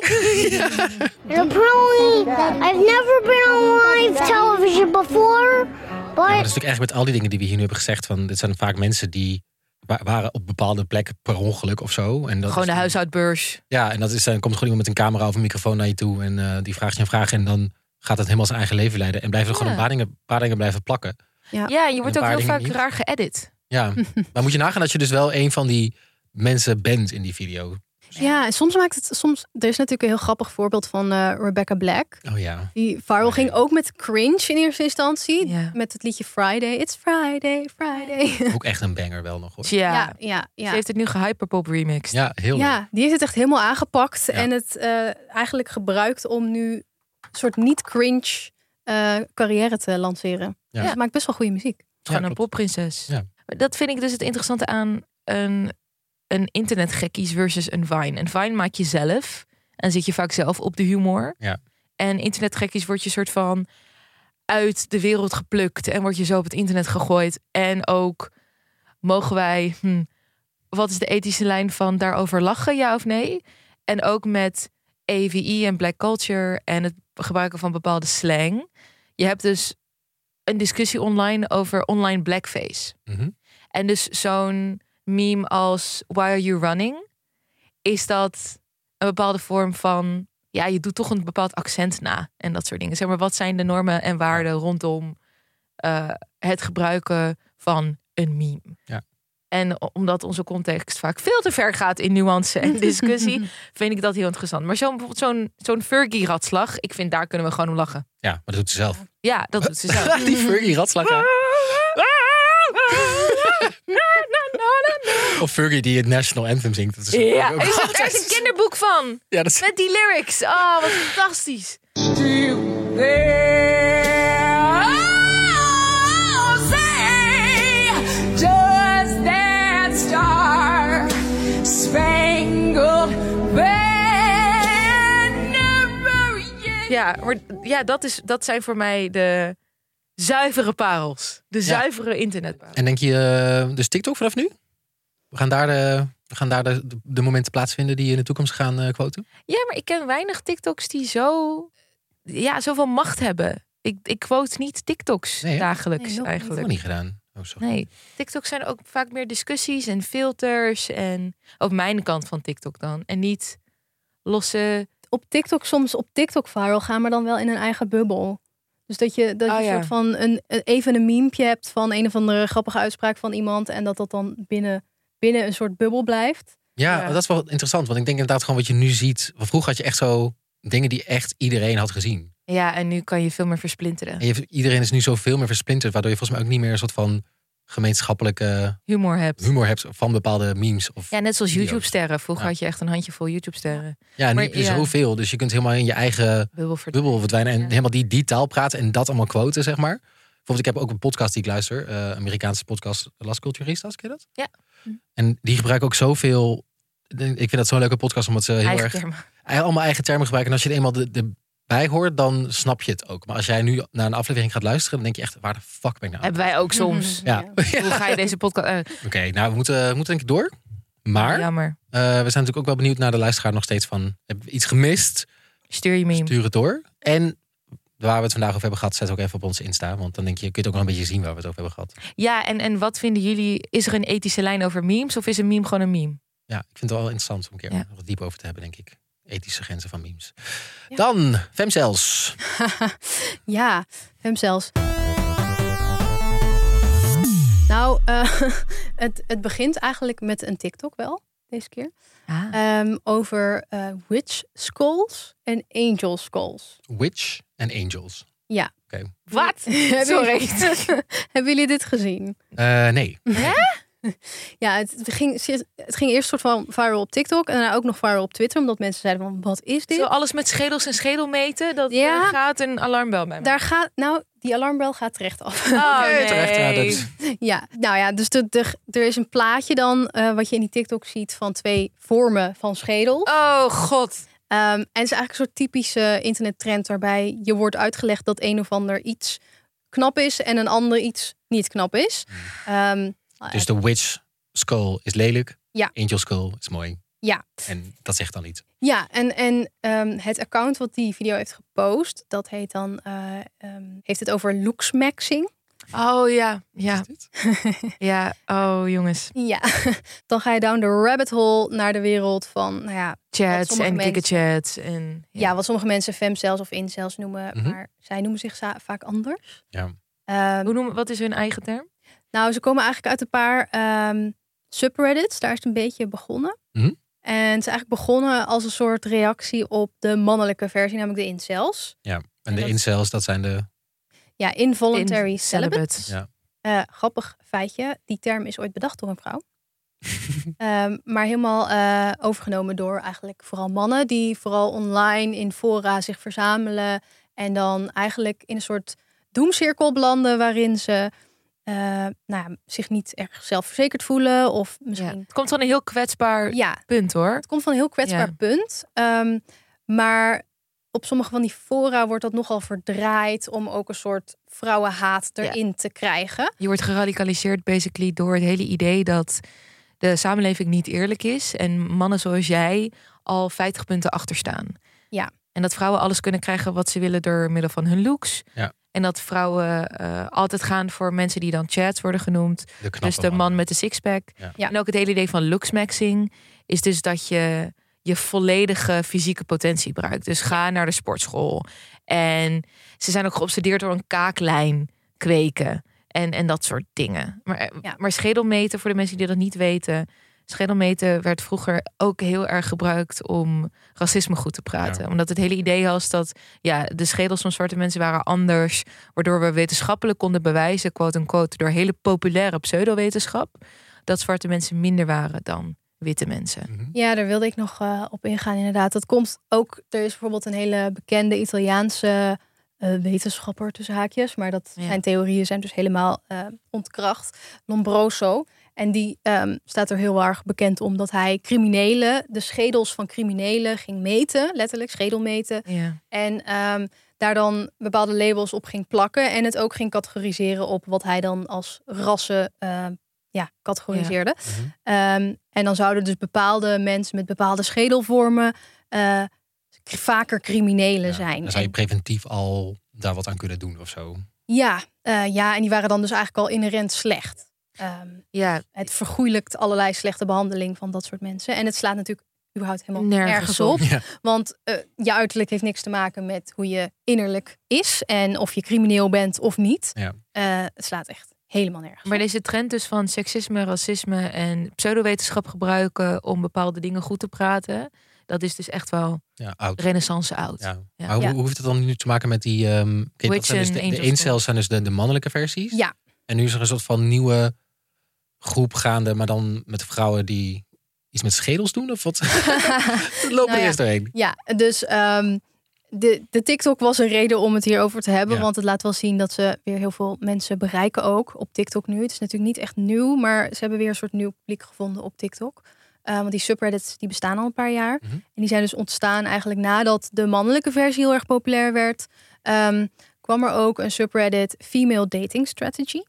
P: Apparently, I've never been on live television before,
C: Maar
P: but
C: dat is natuurlijk echt met al die dingen die we hier nu hebben gezegd. Van, dit zijn vaak mensen die wa- waren op bepaalde plekken per ongeluk of zo. En dat
D: Gewoon
C: is-
D: de huishoudbeurs.
C: Ja, en dat is, dan komt gewoon iemand met een camera of een microfoon naar je toe. En eh, die vraagt je een vraag. En dan gaat het helemaal zijn eigen leven leiden. En blijven er gewoon
D: Ja.
C: een paar dingen, paar dingen blijven plakken.
E: Ja,
D: je wordt
C: een
D: ook
C: paar
D: heel
C: dingen
D: vaak
C: niet.
D: raar geëdit.
C: Ja, maar moet je nagaan dat je dus wel een van die mensen bent in die video.
E: Ja, en soms maakt het soms. Er is natuurlijk een heel grappig voorbeeld van eh, Rebecca Black.
C: Oh ja.
E: Die viral ging ook met cringe in eerste instantie. Met het liedje Friday. It's Friday, Friday.
C: Ook echt een banger wel nog hoor.
D: Dus Ja.
E: Ja, ja, ja.
D: Ze heeft het nu gehyperpop remixed.
C: Ja, heel leuk.
E: Ja, die heeft het echt helemaal aangepakt. En het eh, eigenlijk gebruikt om nu een soort niet-cringe eh, carrière te lanceren.
D: Ja.
E: Dus ze maakt best wel goede muziek.
D: Het is gewoon een popprinses.
C: Ja.
D: Dat vind ik dus het interessante aan een, een internetgekkies versus een Vine. Een Vine maak je zelf en zit je vaak zelf op de humor.
C: Ja.
D: En internetgekkies word je soort van uit de wereld geplukt en word je zo op het internet gegooid. En ook mogen wij, hm, wat is de ethische lijn van daarover lachen, ja of nee? En ook met AVI en black culture en het gebruiken van bepaalde slang. Je hebt dus een discussie online over online blackface. En dus zo'n meme als Why are you running? Is dat een bepaalde vorm van. Ja, je doet toch een bepaald accent na en dat soort dingen. Zeg maar, wat zijn de normen en waarden rondom eh, het gebruiken van een meme?
C: Ja.
D: En o- omdat onze context vaak veel te ver gaat in nuance en discussie, vind ik dat heel interessant. Maar zo'n bijvoorbeeld zo'n zo'n Fergie-ratslag, ik vind daar kunnen we gewoon om lachen.
C: Ja, maar dat doet ze zelf.
D: Ja, Ah. dat doet ze zelf.
C: die Fergie ratslag. ja. Of Fergie die het National Anthem zingt. Dat is
D: Ja,
C: ook-
D: er is, er is een kinderboek van.
C: Ja, dat is-
D: Met die lyrics. Oh, wat fantastisch.
G: Just that star spangled banner.
D: Ja, maar ja, dat, is, dat zijn voor mij de zuivere parels. De zuivere internetparels.
C: En denk je, eh, dus TikTok vanaf nu? We gaan daar, de, we gaan daar de, de momenten plaatsvinden die in de toekomst gaan eh quoten.
D: Ja, maar ik ken weinig TikToks die zo, ja, zoveel macht hebben. Ik, ik quote niet TikToks dagelijks
C: Dat
D: eigenlijk.
C: hebben we niet gedaan. Oh, sorry.
D: Nee, TikToks zijn ook vaak meer discussies en filters. En op mijn kant van TikTok dan. En niet losse.
E: op TikTok soms op TikTok viral gaan, maar dan wel in een eigen bubbel. Dus dat je, dat je
D: Oh, ja.
E: een soort van een, een- even een memepje hebt van een of andere grappige uitspraak van iemand. En dat dat dan binnen, binnen een soort bubbel blijft.
C: Ja, maar dat is wel interessant. Want ik denk inderdaad gewoon wat je nu ziet. want Vroeger had je echt zo dingen die echt iedereen had gezien.
D: Ja, en nu kan je veel meer versplinteren.
C: En je, iedereen is nu zoveel meer versplinterd. Waardoor je volgens mij ook niet meer een soort van gemeenschappelijke
D: Humor hebt.
C: humor hebt van bepaalde memes. Of,
D: Ja, net zoals
C: video's.
D: YouTube-sterren. Vroeger
C: Ja.
D: had je echt een handjevol YouTube-sterren.
C: ja, en nu
D: Maar
C: heb je zoveel. Dus je kunt helemaal in je eigen
D: bubbel
C: verdwijnen. En helemaal die, die taal praten en dat allemaal quoten, zeg maar. Bijvoorbeeld, ik heb ook een podcast die ik luister. eh, Amerikaanse podcast Las Culturistas, ken je dat?
D: Ja.
C: En die gebruiken ook zoveel... Ik vind dat zo'n leuke podcast, omdat ze heel
D: Eigen
C: erg...
D: termen.
C: Ei- Allemaal eigen termen gebruiken. En als je eenmaal de, de bij hoort, dan snap je het ook. Maar als jij nu naar een aflevering gaat luisteren, dan denk je echt, waar de fuck ben ik nou? aan
D: Hebben wij ook soms.
C: Ja.
D: Hoe ga je deze podcast... eh,
C: Oké, nou, we moeten, we moeten denk ik door. Maar
D: Jammer.
C: eh, we zijn natuurlijk ook wel benieuwd naar de luisteraar nog steeds van... Hebben we iets gemist?
D: Stuur je mee.
C: Stuur het door. En waar we het vandaag over hebben gehad, zet ook even op ons Insta. Want dan denk je, kun je het ook nog een beetje zien waar we het over hebben gehad.
D: Ja, en, en wat vinden jullie? Is er een ethische lijn over memes of is een meme gewoon een meme?
C: Ja, ik vind het wel interessant om een keer nog wat diep over te hebben, denk ik. Ethische grenzen van memes. Dan, femcells.
E: Ja, hem zelfs. Nou, eh, het, het begint eigenlijk met een TikTok wel, deze keer.
D: Ah. Eh,
E: Ehm, over eh, witch skulls en angel skulls.
C: Witch en angels.
E: Ja.
C: Oké.
E: Wat?
D: Sorry.
E: Hebben jullie dit gezien?
C: Eh, nee.
E: Ja, het het ging, het ging eerst soort van viral op TikTok en daarna ook nog viral op Twitter, omdat mensen zeiden van, wat is dit?
D: Zo alles met schedels en schedelmeten, dat
E: Ja.
D: daar gaat een alarmbel bij me.
E: Daar gaat, nou, die alarmbel gaat terecht af.
D: Oh, Oké, terecht, ja, nee. dat
E: Ja, nou ja, dus de, de- er is een plaatje dan, eh, wat je in die TikTok ziet, van twee vormen van schedel. Ehm,
D: Oh, god.
E: en het is eigenlijk een soort typische internettrend waarbij je wordt uitgelegd dat een of ander iets knap is en een ander iets niet knap is.
D: Hmm.
E: Ehm,
C: Dus de witch skull is lelijk.
E: Ja.
C: Angel skull is mooi.
E: ja,
C: En dat zegt dan iets.
E: Ja, en, en ehm, het account wat die video heeft gepost, dat heet dan, eh, ehm, heeft het over looks maxing.
D: Oh ja, ja. ja, oh jongens.
E: Ja, dan ga je down the rabbit hole naar de wereld van, nou ja, wat
D: Chats
E: sommige
D: en
E: mensen-
D: kikkerchats. En...
E: Ja, wat sommige mensen femcells of incels noemen,
D: Mhm.
E: maar zij noemen zich za- vaak anders. Ehm,
C: Ja.
D: Hoe noemen, wat is hun eigen term?
E: Nou, ze komen eigenlijk uit een paar ehm, subreddits, daar is het een beetje begonnen.
C: Mhm.
E: En het is eigenlijk begonnen als een soort reactie op de mannelijke versie, namelijk de incels.
C: Ja. En de incels, dat zijn de...
E: Ja, involuntary
D: In-
E: celibate.
C: Ja.
E: Eh, grappig feitje, die term is ooit bedacht door een vrouw. Ehm, maar helemaal eh, overgenomen door eigenlijk vooral mannen die vooral online in fora zich verzamelen en dan eigenlijk in een soort doemcirkel belanden waarin ze eh, nou ja, zich niet erg zelfverzekerd voelen of misschien
D: Het komt van een heel kwetsbaar punt hoor.
E: het komt van een heel kwetsbaar
D: Ja.
E: punt. Ehm, maar op sommige van die fora wordt dat nogal verdraaid om ook een soort vrouwenhaat erin te krijgen.
D: Je wordt geradicaliseerd basically door het hele idee dat de samenleving niet eerlijk is en mannen zoals jij al 50 punten achter staan.
E: Ja,
D: En dat vrouwen alles kunnen krijgen wat ze willen door middel van hun looks.
C: Ja.
D: En dat vrouwen eh, altijd gaan voor mensen die dan chats worden genoemd.
C: knappe
D: dus de man met de sixpack.
E: Ja.
D: En ook het hele idee van looksmaxing is dus dat je je volledige fysieke potentie gebruikt. Dus ga naar de sportschool. En ze zijn ook geobsedeerd door een kaaklijn kweken. En, en dat soort dingen. Maar, eh, maar schedelmeten, voor de mensen die dat niet weten... schedelmeten werd vroeger ook heel erg gebruikt... om racisme goed te praten. Omdat het hele idee was dat ja, de schedels van zwarte mensen waren anders... waardoor we wetenschappelijk konden bewijzen... quote-unquote, door hele populaire pseudowetenschap... dat zwarte mensen minder waren dan witte mensen.
C: Hm.
E: Ja, daar wilde ik nog eh, op ingaan, inderdaad. Dat komt ook. Er is bijvoorbeeld een hele bekende Italiaanse eh, wetenschapper tussen haakjes, maar dat zijn theorieën zijn dus helemaal eh, ontkracht. Lombroso. En die ehm, staat er heel erg bekend om dat hij criminelen, de schedels van criminelen ging meten, letterlijk schedelmeten.
D: Ja.
E: En ehm, daar dan bepaalde labels op ging plakken en het ook ging categoriseren op wat hij dan als rassen ehm, ja, categoriseerde.
C: Mhm.
E: Ehm, en dan zouden dus bepaalde mensen met bepaalde schedelvormen eh, k- vaker criminelen zijn.
C: Dan zou je preventief al daar wat aan kunnen doen of zo.
E: Ja, eh, ja, en die waren dan dus eigenlijk al inherent slecht. Ehm,
D: ja.
E: Het vergoeilijkt allerlei slechte behandeling van dat soort mensen. En het slaat natuurlijk überhaupt helemaal nergens,
D: Nergens
E: op.
D: op.
C: Ja.
E: Want eh, je uiterlijk heeft niks te maken met hoe je innerlijk is. En of je crimineel bent of niet.
C: Ja.
E: Eh, het slaat echt helemaal nergens.
D: Maar deze trend dus van seksisme, racisme en pseudowetenschap gebruiken om bepaalde dingen goed te praten, dat is dus echt wel
C: Ja, oud.
D: renaissance oud.
C: Ja.
D: Ja.
C: Maar hoe, hoe heeft het dan nu te maken met die... ehm kijk, dat
D: Witch
C: zijn dus
D: en
C: de, de
D: angel
C: incels zijn dus de, de mannelijke versies.
E: Ja.
C: En nu is er een soort van nieuwe groep gaande, maar dan met vrouwen die iets met schedels doen of wat? Lopen
E: Nou
C: er
E: ja.
C: eerst doorheen.
E: Ja, dus ehm, de, de TikTok was een reden om het hierover te hebben.
C: Ja.
E: Want het laat wel zien dat ze weer heel veel mensen bereiken ook op TikTok nu. Het is natuurlijk niet echt nieuw, maar ze hebben weer een soort nieuw publiek gevonden op TikTok. Ehm, Eh, want die subreddits die bestaan al een paar jaar. En die zijn dus ontstaan eigenlijk nadat de mannelijke versie heel erg populair werd. ehm, kwam er ook een subreddit Female Dating Strategy.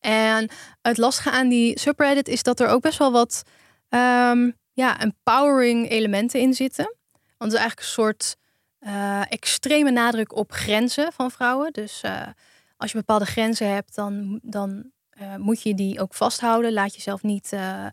E: En het lastige aan die subreddit is dat er ook best wel wat ehm, ja, empowering elementen in zitten. Want het is eigenlijk een soort eh, extreme nadruk op grenzen van vrouwen. Dus eh, als je bepaalde grenzen hebt, dan, dan eh, moet je die ook vasthouden. Laat jezelf niet eh,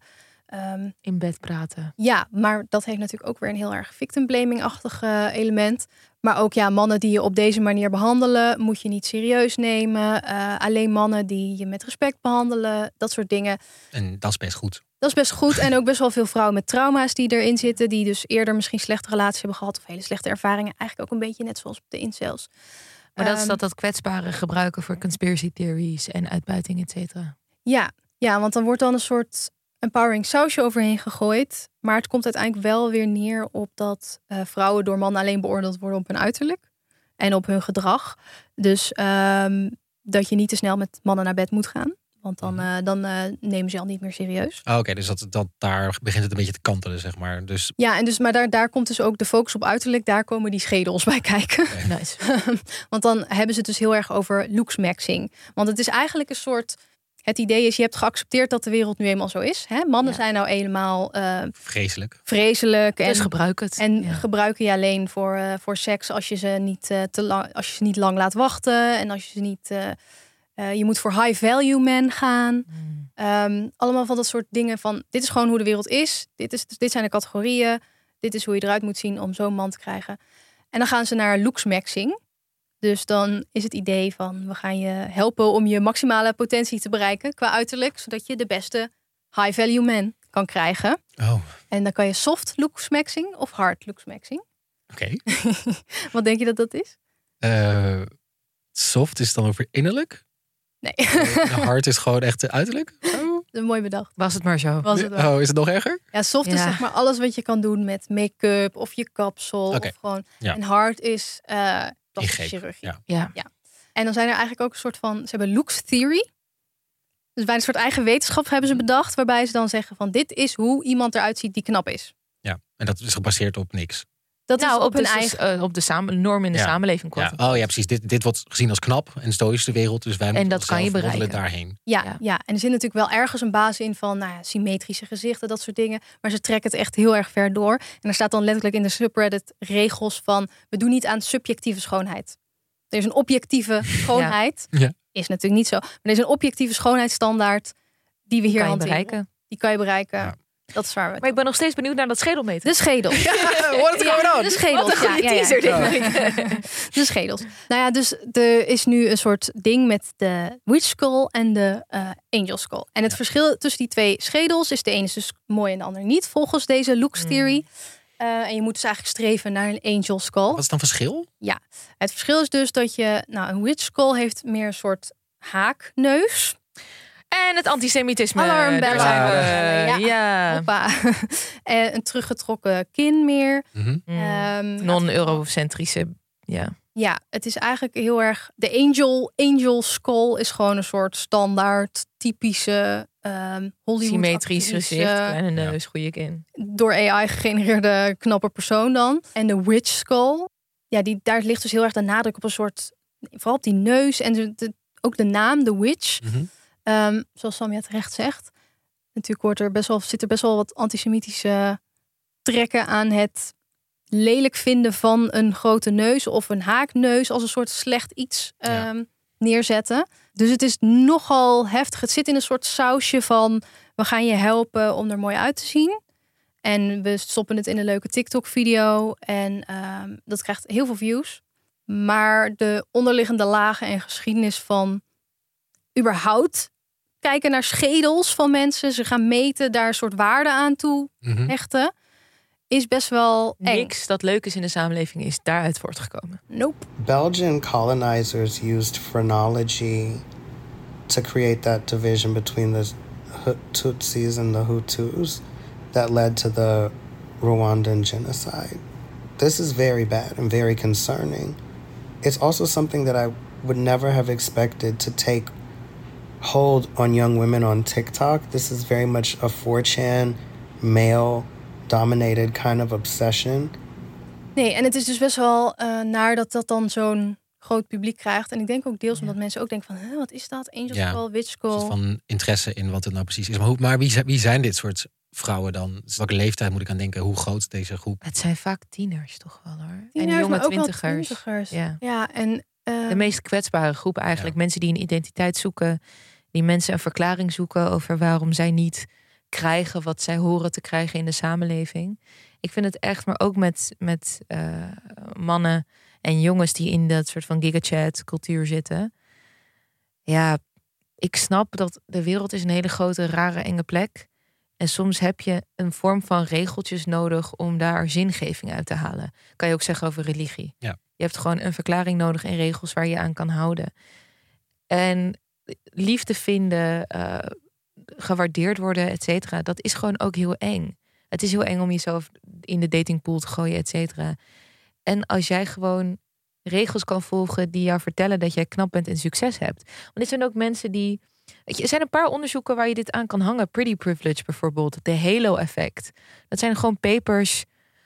E: ehm,
D: In bed praten.
E: ja, maar dat heeft natuurlijk ook weer een heel erg victim blaming-achtig eh, element. Maar ook ja, mannen die je op deze manier behandelen, moet je niet serieus nemen. Eh, alleen mannen die je met respect behandelen, dat soort dingen.
C: En dat is best goed.
E: Dat is best goed. En ook best wel veel vrouwen met trauma's die erin zitten. Die dus eerder misschien slechte relaties hebben gehad. Of hele slechte ervaringen. Eigenlijk ook een beetje net zoals op de incels.
D: Maar dat is
E: Ehm,
D: dat dat kwetsbare gebruiken voor conspiracy theories en uitbuiting, et cetera.
E: Ja, ja, want dan wordt dan een soort empowering sausje overheen gegooid. Maar het komt uiteindelijk wel weer neer op dat eh, vrouwen door mannen alleen beoordeeld worden op hun uiterlijk en op hun gedrag. Dus ehm, dat je niet te snel met mannen naar bed moet gaan. Want dan, eh, dan eh, nemen ze al niet meer serieus.
C: Ah, Oké, dus dat, dat, daar begint het een beetje te kantelen, zeg maar. Dus
E: Ja, en dus, maar daar, daar komt dus ook de focus op uiterlijk. Daar komen die schedels bij kijken. Want dan hebben ze het dus heel erg over looks maxing. Want het is eigenlijk een soort... Het idee is, je hebt geaccepteerd dat de wereld nu eenmaal zo is. Hè? Mannen zijn nou eenmaal eh,
C: vreselijk.
E: vreselijk. En,
D: Dus gebruik het.
E: En gebruiken je alleen voor, eh, voor seks als je, ze niet, eh, te lang, als je ze niet lang laat wachten. En als je ze niet... eh, eh, je moet voor high value men gaan. Ehm, allemaal van dat soort dingen van... Dit is gewoon hoe de wereld is. Dit, is. dit zijn de categorieën. Dit is hoe je eruit moet zien om zo'n man te krijgen. En dan gaan ze naar looks maxing. Dus dan is het idee van... We gaan je helpen om je maximale potentie te bereiken qua uiterlijk. Zodat je de beste high value man kan krijgen.
C: Oh.
E: En dan kan je soft looks maxing of hard looks maxing.
C: Oké.
E: Wat denk je dat dat is?
C: Eh, soft is dan over innerlijk.
E: Nee.
C: En hard is gewoon echt eh, uiterlijk.
E: Mooi bedacht.
D: Was het maar zo.
E: Was het wel.
C: oh, is het nog erger?
E: Ja, soft is
D: Ja.
E: zeg maar alles wat je kan doen met make-up of je kapsel.
C: Oké.
E: Of gewoon.
C: Ja.
E: En hard is eh plastische
C: Ingreep,
E: chirurgie.
C: ja.
D: Ja.
E: En dan zijn er eigenlijk ook een soort van... Ze hebben looks theory. Dus bij een soort eigen wetenschap hebben ze bedacht... waarbij ze dan zeggen van dit is hoe iemand eruit ziet die knap is.
C: Ja, en dat is gebaseerd op niks.
E: Dat
D: nou,
E: is op,
D: op,
E: hun
D: dus-
E: eigen...
D: eh, op de samen, norm in de
C: Ja.
D: samenleving.
C: Ja.
D: kwam.
C: Oh ja, precies. Dit, dit wordt gezien als knap en stoïsch de wereld. Dus wij moeten
D: dat kan je
C: onszelf modelen
D: bereiken.
C: daarheen.
E: Ja, ja. en er zit natuurlijk wel ergens een basis in van nou ja, symmetrische gezichten, dat soort dingen. Maar ze trekken het echt heel erg ver door. En er staat dan letterlijk in de subreddit regels van... we doen niet aan subjectieve schoonheid. Er is een objectieve schoonheid.
C: Ja.
E: Is natuurlijk niet zo. Maar er is een objectieve schoonheidsstandaard die we hier
D: Kan je
E: hanteren.
D: bereiken.
E: Die kan je bereiken. Dat is waar we
D: Maar ik ben nog steeds benieuwd naar dat schedelmeter.
E: De schedel.
D: what is going on?
E: De schedels.
D: Wat een goede
E: ja, ja, ja.
D: teaser, dit
E: De schedels. Nou ja, dus er is nu een soort ding met de witch skull en de eh, angel skull. En het verschil tussen die twee schedels is de ene is dus mooi en de ander niet, volgens deze looks theory. Eh, en je moet dus eigenlijk streven naar een angel skull. Wat
C: is dan verschil?
E: Ja, het verschil is dus dat je, nou, een witch skull heeft meer een soort haakneus.
D: En het antisemitisme.
E: Alarmbellen.
D: Daar zijn
E: Ja.
D: we. eh, Ja.
E: Hoppa. en een teruggetrokken kin meer.
D: Hmm.
E: Ehm,
D: Mm. Non-eurocentrische. Ja.
E: Ja, het is eigenlijk heel erg. De Angel, Angel Skull is gewoon een soort standaard, typische ehm Hollywood.
D: Symmetrisch gezicht, kleine neus, goede kin.
E: Door AI gegenereerde knappe persoon dan. En de Witch Skull. Ja, die, daar ligt dus heel erg de nadruk op een soort. Vooral op die neus en de, de- ook de naam, de Witch. Ehm, zoals Samia terecht zegt. Natuurlijk wordt er best wel, zit er best wel wat antisemitische trekken aan het lelijk vinden van een grote neus of een haakneus als een soort slecht iets ehm, neerzetten. Dus het is nogal heftig. Het zit in een soort sausje van we gaan je helpen om er mooi uit te zien. En we stoppen het in een leuke TikTok-video. En ehm, dat krijgt heel veel views. Maar de onderliggende lagen en geschiedenis van überhaupt kijken naar schedels van mensen. Ze gaan meten, daar een soort waarde aan toe
D: Mhm.
E: hechten. Is best wel eng.
D: Niks dat leuk is in de samenleving is daaruit voortgekomen.
E: Nope.
Q: Belgian colonizers used phrenology to create that division between the Hu- Tutsis and the Hutus that led to the Rwandan genocide. This is very bad and very concerning. It's also something that I would never have expected to take hold on young women on TikTok. This is very much a 4chan male dominated kind of obsession.
E: Nee, en het is dus best wel eh, naar dat dat dan zo'n groot publiek krijgt. En ik denk ook deels omdat mensen ook denken van, Hè, wat is dat? Angel
C: Ja,
E: Call, Witch
C: Een soort
E: Call.
C: van interesse in wat het nou precies is. Maar, hoe, maar wie, zijn- wie zijn dit soort vrouwen dan? Dus welke leeftijd moet ik aan denken? Hoe groot is deze groep?
D: Het zijn vaak tieners toch wel hoor.
E: Tieners,
D: en jonge
E: maar ook wel
D: twintigers.
E: twintigers.
D: Ja.
E: Ja, en, eh,
D: de meest kwetsbare groep eigenlijk. Mensen die een identiteit zoeken. Die mensen een verklaring zoeken over waarom zij niet krijgen wat zij horen te krijgen in de samenleving. Ik vind het echt, maar ook met, met eh, mannen en jongens die in dat soort van gigachat cultuur zitten. Ja, ik snap dat de wereld is een hele grote, rare, enge plek. En soms heb je een vorm van regeltjes nodig om daar zingeving uit te halen. Kan je ook zeggen over religie.
C: Ja.
D: Je hebt gewoon een verklaring nodig en regels waar je aan kan houden. En liefde vinden, eh, gewaardeerd worden, et cetera, dat is gewoon ook heel eng. Het is heel eng om jezelf in de datingpool te gooien, et cetera. En als jij gewoon regels kan volgen die jou vertellen dat jij knap bent en succes hebt. Want dit zijn ook mensen die. Weet je, er zijn een paar onderzoeken waar je dit aan kan hangen. Pretty privilege bijvoorbeeld, de halo-effect. Dat zijn gewoon papers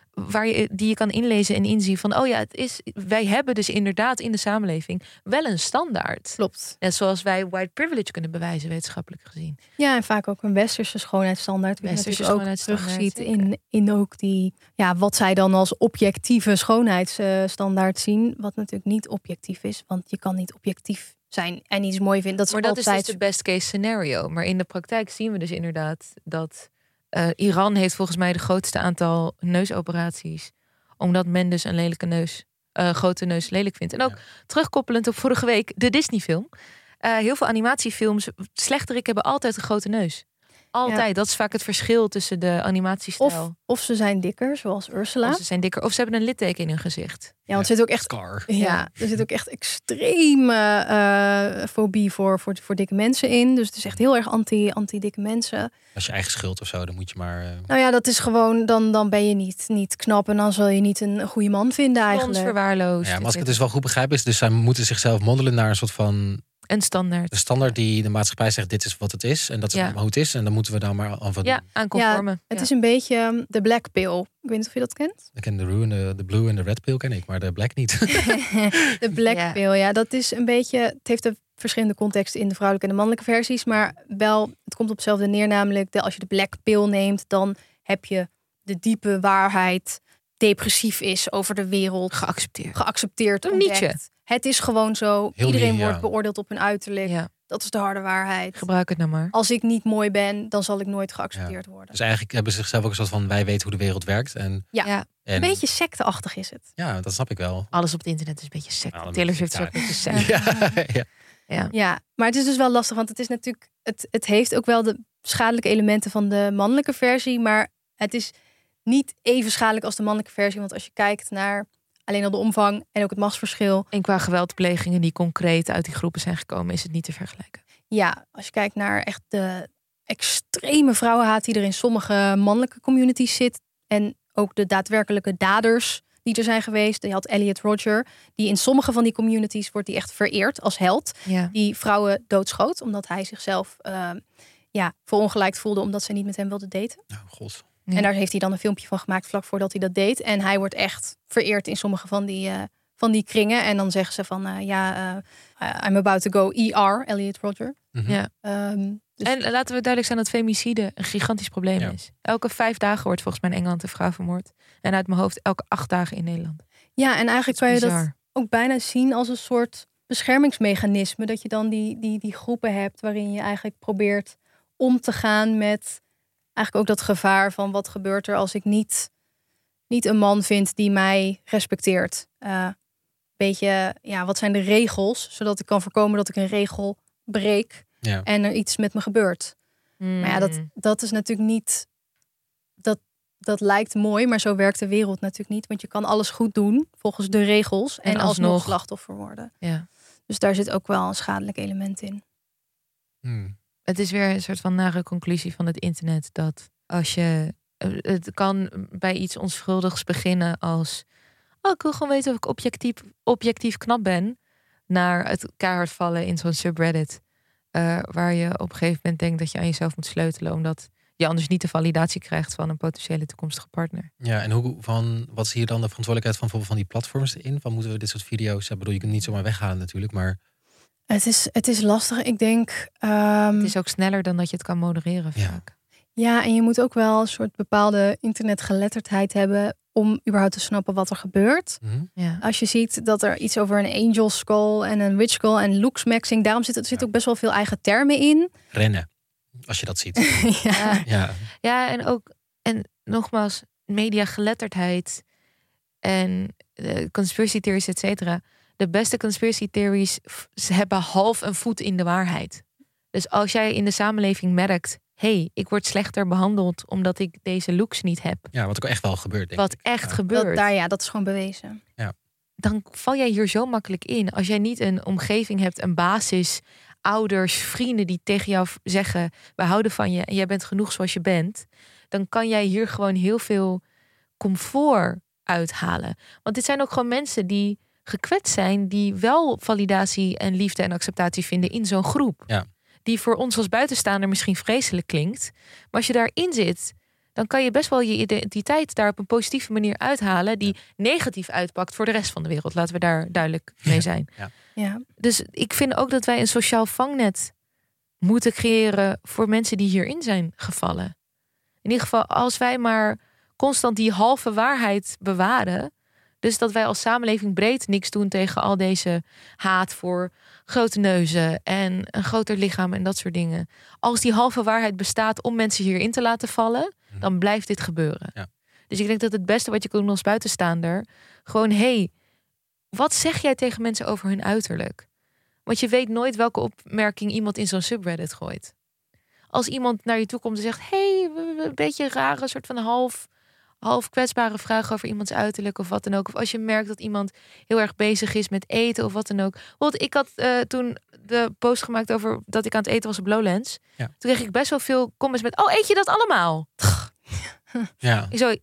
D: waar je, die je kan inlezen en inzien van, oh ja, het is, wij hebben dus inderdaad in de samenleving wel een standaard.
E: Klopt.
D: Net zoals wij white privilege kunnen bewijzen, wetenschappelijk gezien.
E: Ja, en vaak ook een westerse schoonheidsstandaard. Wat je
D: Westerse
E: natuurlijk ook
D: schoonheidsstandaard,
E: terugziet in, in ook die, ja, wat zij dan als objectieve schoonheidsstandaard zien. Wat natuurlijk niet objectief is, want je kan niet objectief zijn en iets mooi vinden. Dat is
D: maar dat
E: altijd
D: is dus de best case scenario. Maar in de praktijk zien we dus inderdaad dat eh, Iran heeft volgens mij de grootste aantal neusoperaties. Omdat men dus een lelijke neus, eh, grote neus lelijk vindt. En ook terugkoppelend op vorige week de Disney film. heel veel animatiefilms, slechterik hebben altijd een grote neus. Altijd.
E: Ja.
D: Dat is vaak het verschil tussen de animatiestijl.
E: Of, of ze zijn dikker, zoals Ursula.
D: Of ze zijn dikker. Of ze hebben een litteken in hun gezicht.
E: Ja, want er zit ook echt. Ja, er zit ook echt extreme eh, fobie voor, voor, voor dikke mensen in. Dus het is echt heel erg anti- anti-dikke mensen.
C: Als je eigen schuld of zo, dan moet je maar... eh,
E: Nou ja, dat is gewoon, dan, dan ben je niet, niet knap en dan zal je niet een goede man vinden eigenlijk.
D: verwaarloosd.
C: Ja, maar als ik het dus wel goed begrijp is, dus zij moeten zichzelf mondelen naar een soort van
D: een standaard.
C: de standaard die de maatschappij zegt, dit is wat het is en dat is
E: Ja.
C: hoe het is en dan moeten we daar maar aan van
D: Ja, aan conformen.
E: het is een beetje ehm, de black pill. Ik weet niet of je dat kent.
C: Ik ken de, rune, de, de blue en de red pill ken ik, maar de black niet.
E: De black pill, ja. Dat is een beetje, het heeft een verschillende contexten in de vrouwelijke en de mannelijke versies. Maar wel, het komt op hetzelfde neer. Namelijk, de, als je de black pill neemt, dan heb je de diepe waarheid depressief is over de wereld.
D: Geaccepteerd.
E: Geaccepteerd.
D: Een Nietzsche.
E: ontdekt. Het is gewoon zo.
D: Heel
E: Iedereen
D: Nietzsche,
E: wordt
D: ja.
E: beoordeeld op hun uiterlijk. Dat is de harde waarheid.
D: Gebruik het nou maar.
E: Als ik niet mooi ben, dan zal ik nooit geaccepteerd worden.
C: dus eigenlijk hebben ze zichzelf ook een soort van, wij weten hoe de wereld werkt. En
E: Ja,
C: En-
E: een beetje secteachtig is het.
C: ja, dat snap ik wel.
D: Alles op het internet is een beetje sect.
C: Allemaal
D: Taylor Swift is ook een
C: sectaar.
D: beetje sect.
C: ja.
D: Ja.
E: maar het is dus wel lastig, want het is natuurlijk, het, het heeft ook wel de schadelijke elementen van de mannelijke versie, maar het is niet even schadelijk als de mannelijke versie, want als je kijkt naar alleen al de omvang en ook het machtsverschil,
D: En qua geweldplegingen die concreet uit die groepen zijn gekomen, is het niet te vergelijken.
E: ja, als je kijkt naar echt de extreme vrouwenhaat die er in sommige mannelijke communities zit. En ook de daadwerkelijke daders die er zijn geweest. Je had Elliot Roger, die in sommige van die communities wordt die echt vereerd als held.
D: Ja.
E: Die vrouwen doodschoot, omdat hij zichzelf eh, ja, verongelijkt voelde omdat ze niet met hem wilde daten.
C: God.
E: En daar heeft hij dan een filmpje van gemaakt vlak voordat hij dat deed. En hij wordt echt vereerd in sommige van die, eh, van die kringen. En dan zeggen ze van, eh, ja, eh, I'm about to go ER, Elliot Roger.
C: Mhm.
D: Ja.
E: Ehm, dus-
D: En laten we duidelijk zijn dat femicide een gigantisch probleem is. Elke vijf dagen wordt volgens mij in Engeland een vrouw vermoord. En uit mijn hoofd elke acht dagen in Nederland.
E: ja, en eigenlijk kan je dat
D: bizar.
E: ook bijna zien als een soort beschermingsmechanisme. Dat je dan die, die, die groepen hebt waarin je eigenlijk probeert om te gaan met eigenlijk ook dat gevaar van wat gebeurt er als ik niet, niet een man vind die mij respecteert. Eh beetje, ja, wat zijn de regels, zodat ik kan voorkomen dat ik een regel breek
C: Ja.
E: en er iets met me gebeurt. Maar ja,
D: Mm.
E: dat, dat is natuurlijk niet. Dat, dat lijkt mooi, maar zo werkt de wereld natuurlijk niet. Want je kan alles goed doen volgens de regels en,
D: En
E: alsnog,
D: alsnog.
E: slachtoffer worden.
D: Ja.
E: Dus daar zit ook wel een schadelijk element in.
C: Hmm.
D: Het is weer een soort van nare conclusie van het internet dat als je. eh, Het kan bij iets onschuldigs beginnen als. Oh, ik wil gewoon weten of ik objectief, objectief knap ben. Naar het keihard vallen in zo'n subreddit. eh, waar je op een gegeven moment denkt dat je aan jezelf moet sleutelen. Omdat je anders niet de validatie krijgt van een potentiële toekomstige partner.
C: Ja, en hoe, van, wat zie je dan de verantwoordelijkheid van bijvoorbeeld van die platforms in? Van moeten we dit soort video's, ja, bedoel, je kunt het niet zomaar weghalen natuurlijk, maar
E: Het is, het is lastig. Ik denk. ehm,
D: het is ook sneller dan dat je het kan modereren vaak.
E: Mm. Ja, en je moet ook wel een soort bepaalde internetgeletterdheid hebben om überhaupt te snappen wat er gebeurt.
C: mhm,
E: Als je ziet dat er iets over een angel skull en een witch skull en looks maxing, daarom zit, er zit ook best wel veel eigen termen in.
C: rennen. Als je dat ziet.
E: ja.
C: Ja,
D: Ja, en ook, en nogmaals, mediageletterdheid en eh, conspiracy theories, et cetera. De beste conspiracy theories f- ze hebben half een voet in de waarheid. Dus als jij in de samenleving merkt, hé, hey, ik word slechter behandeld omdat ik deze looks niet heb.
C: ja, wat ook echt wel gebeurt. Denk
D: wat
C: ik.
D: echt
C: Ja.
D: gebeurt.
E: daar, ja, dat is gewoon bewezen.
C: Ja.
D: Dan val jij hier zo makkelijk in. Als jij niet een omgeving hebt, een basis, ouders, vrienden die tegen jou v- zeggen: we houden van je en jij bent genoeg zoals je bent. Dan kan jij hier gewoon heel veel comfort uithalen. Want dit zijn ook gewoon mensen die gekwetst zijn, die wel validatie en liefde en acceptatie vinden in zo'n groep
C: Ja.
D: die voor ons als buitenstaander misschien vreselijk klinkt. Maar als je daarin zit, dan kan je best wel je identiteit daar op een positieve manier uithalen, die negatief uitpakt voor de rest van de wereld. Laten we daar duidelijk mee zijn.
E: Ja.
D: Dus ik vind ook dat wij een sociaal vangnet moeten creëren voor mensen die hierin zijn gevallen. In ieder geval, als wij maar constant die halve waarheid bewaren. Dus dat wij als samenleving breed niks doen tegen al deze haat voor grote neuzen en een groter lichaam en dat soort dingen. Als die halve waarheid bestaat om mensen hierin te laten vallen, dan blijft dit gebeuren. Dus ik denk dat het beste wat je kan doen als buitenstaander, gewoon hé, hey, wat zeg jij tegen mensen over hun uiterlijk? Want je weet nooit welke opmerking iemand in zo'n subreddit gooit. Als iemand naar je toe komt en zegt: hey, we- we- een beetje rare, soort van half, half kwetsbare vraag over iemands uiterlijk of wat dan ook. Of als je merkt dat iemand heel erg bezig is met eten of wat dan ook. Want ik had eh, toen de post gemaakt over dat ik aan het eten was op Lowlands.
C: Ja.
D: Toen kreeg ik best wel veel comments met: Oh, eet je dat allemaal?
C: Ja.
D: Ik zo, ja,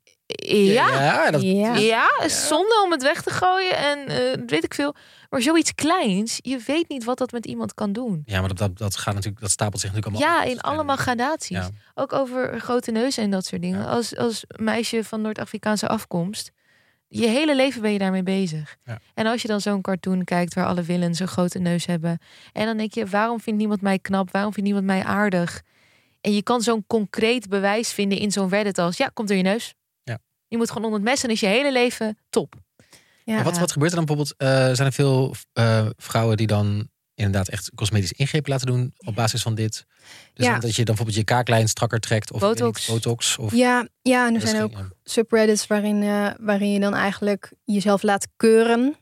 C: Ja,
D: ja,
C: dat-
D: ja.
C: Ja.
D: zonde om het weg te gooien en eh, weet ik veel. Maar zoiets kleins, je weet niet wat dat met iemand kan doen.
C: Ja, maar dat, dat, dat gaat natuurlijk, dat stapelt zich natuurlijk allemaal. Dus,
D: Ja, in allemaal gradaties.
C: Ja.
D: Ook over grote neuzen en dat soort dingen. Als, als meisje van Noord-Afrikaanse afkomst, je hele leven ben je daarmee bezig. En als je dan zo'n cartoon kijkt waar alle willen zo'n grote neus hebben. En dan denk je, waarom vindt niemand mij knap? Waarom vindt niemand mij aardig? En je kan zo'n concreet bewijs vinden in zo'n Reddit als... ja, komt door je neus.
C: Ja.
D: Je moet gewoon onder het mes en is je hele leven top.
C: Maar Wat, wat gebeurt er dan bijvoorbeeld? eh, zijn er veel eh, vrougen die dan inderdaad echt cosmetische ingrepen laten doen op basis van dit? Dus
E: Ja.
C: dan dat je dan bijvoorbeeld je kaaklijn strakker trekt of ik weet
E: Botox.
C: Niet, botox of
E: Ja, ja, en er
C: Dat
E: zijn
C: ging,
E: ook subreddits waarin, eh, waarin je dan eigenlijk jezelf laat keuren.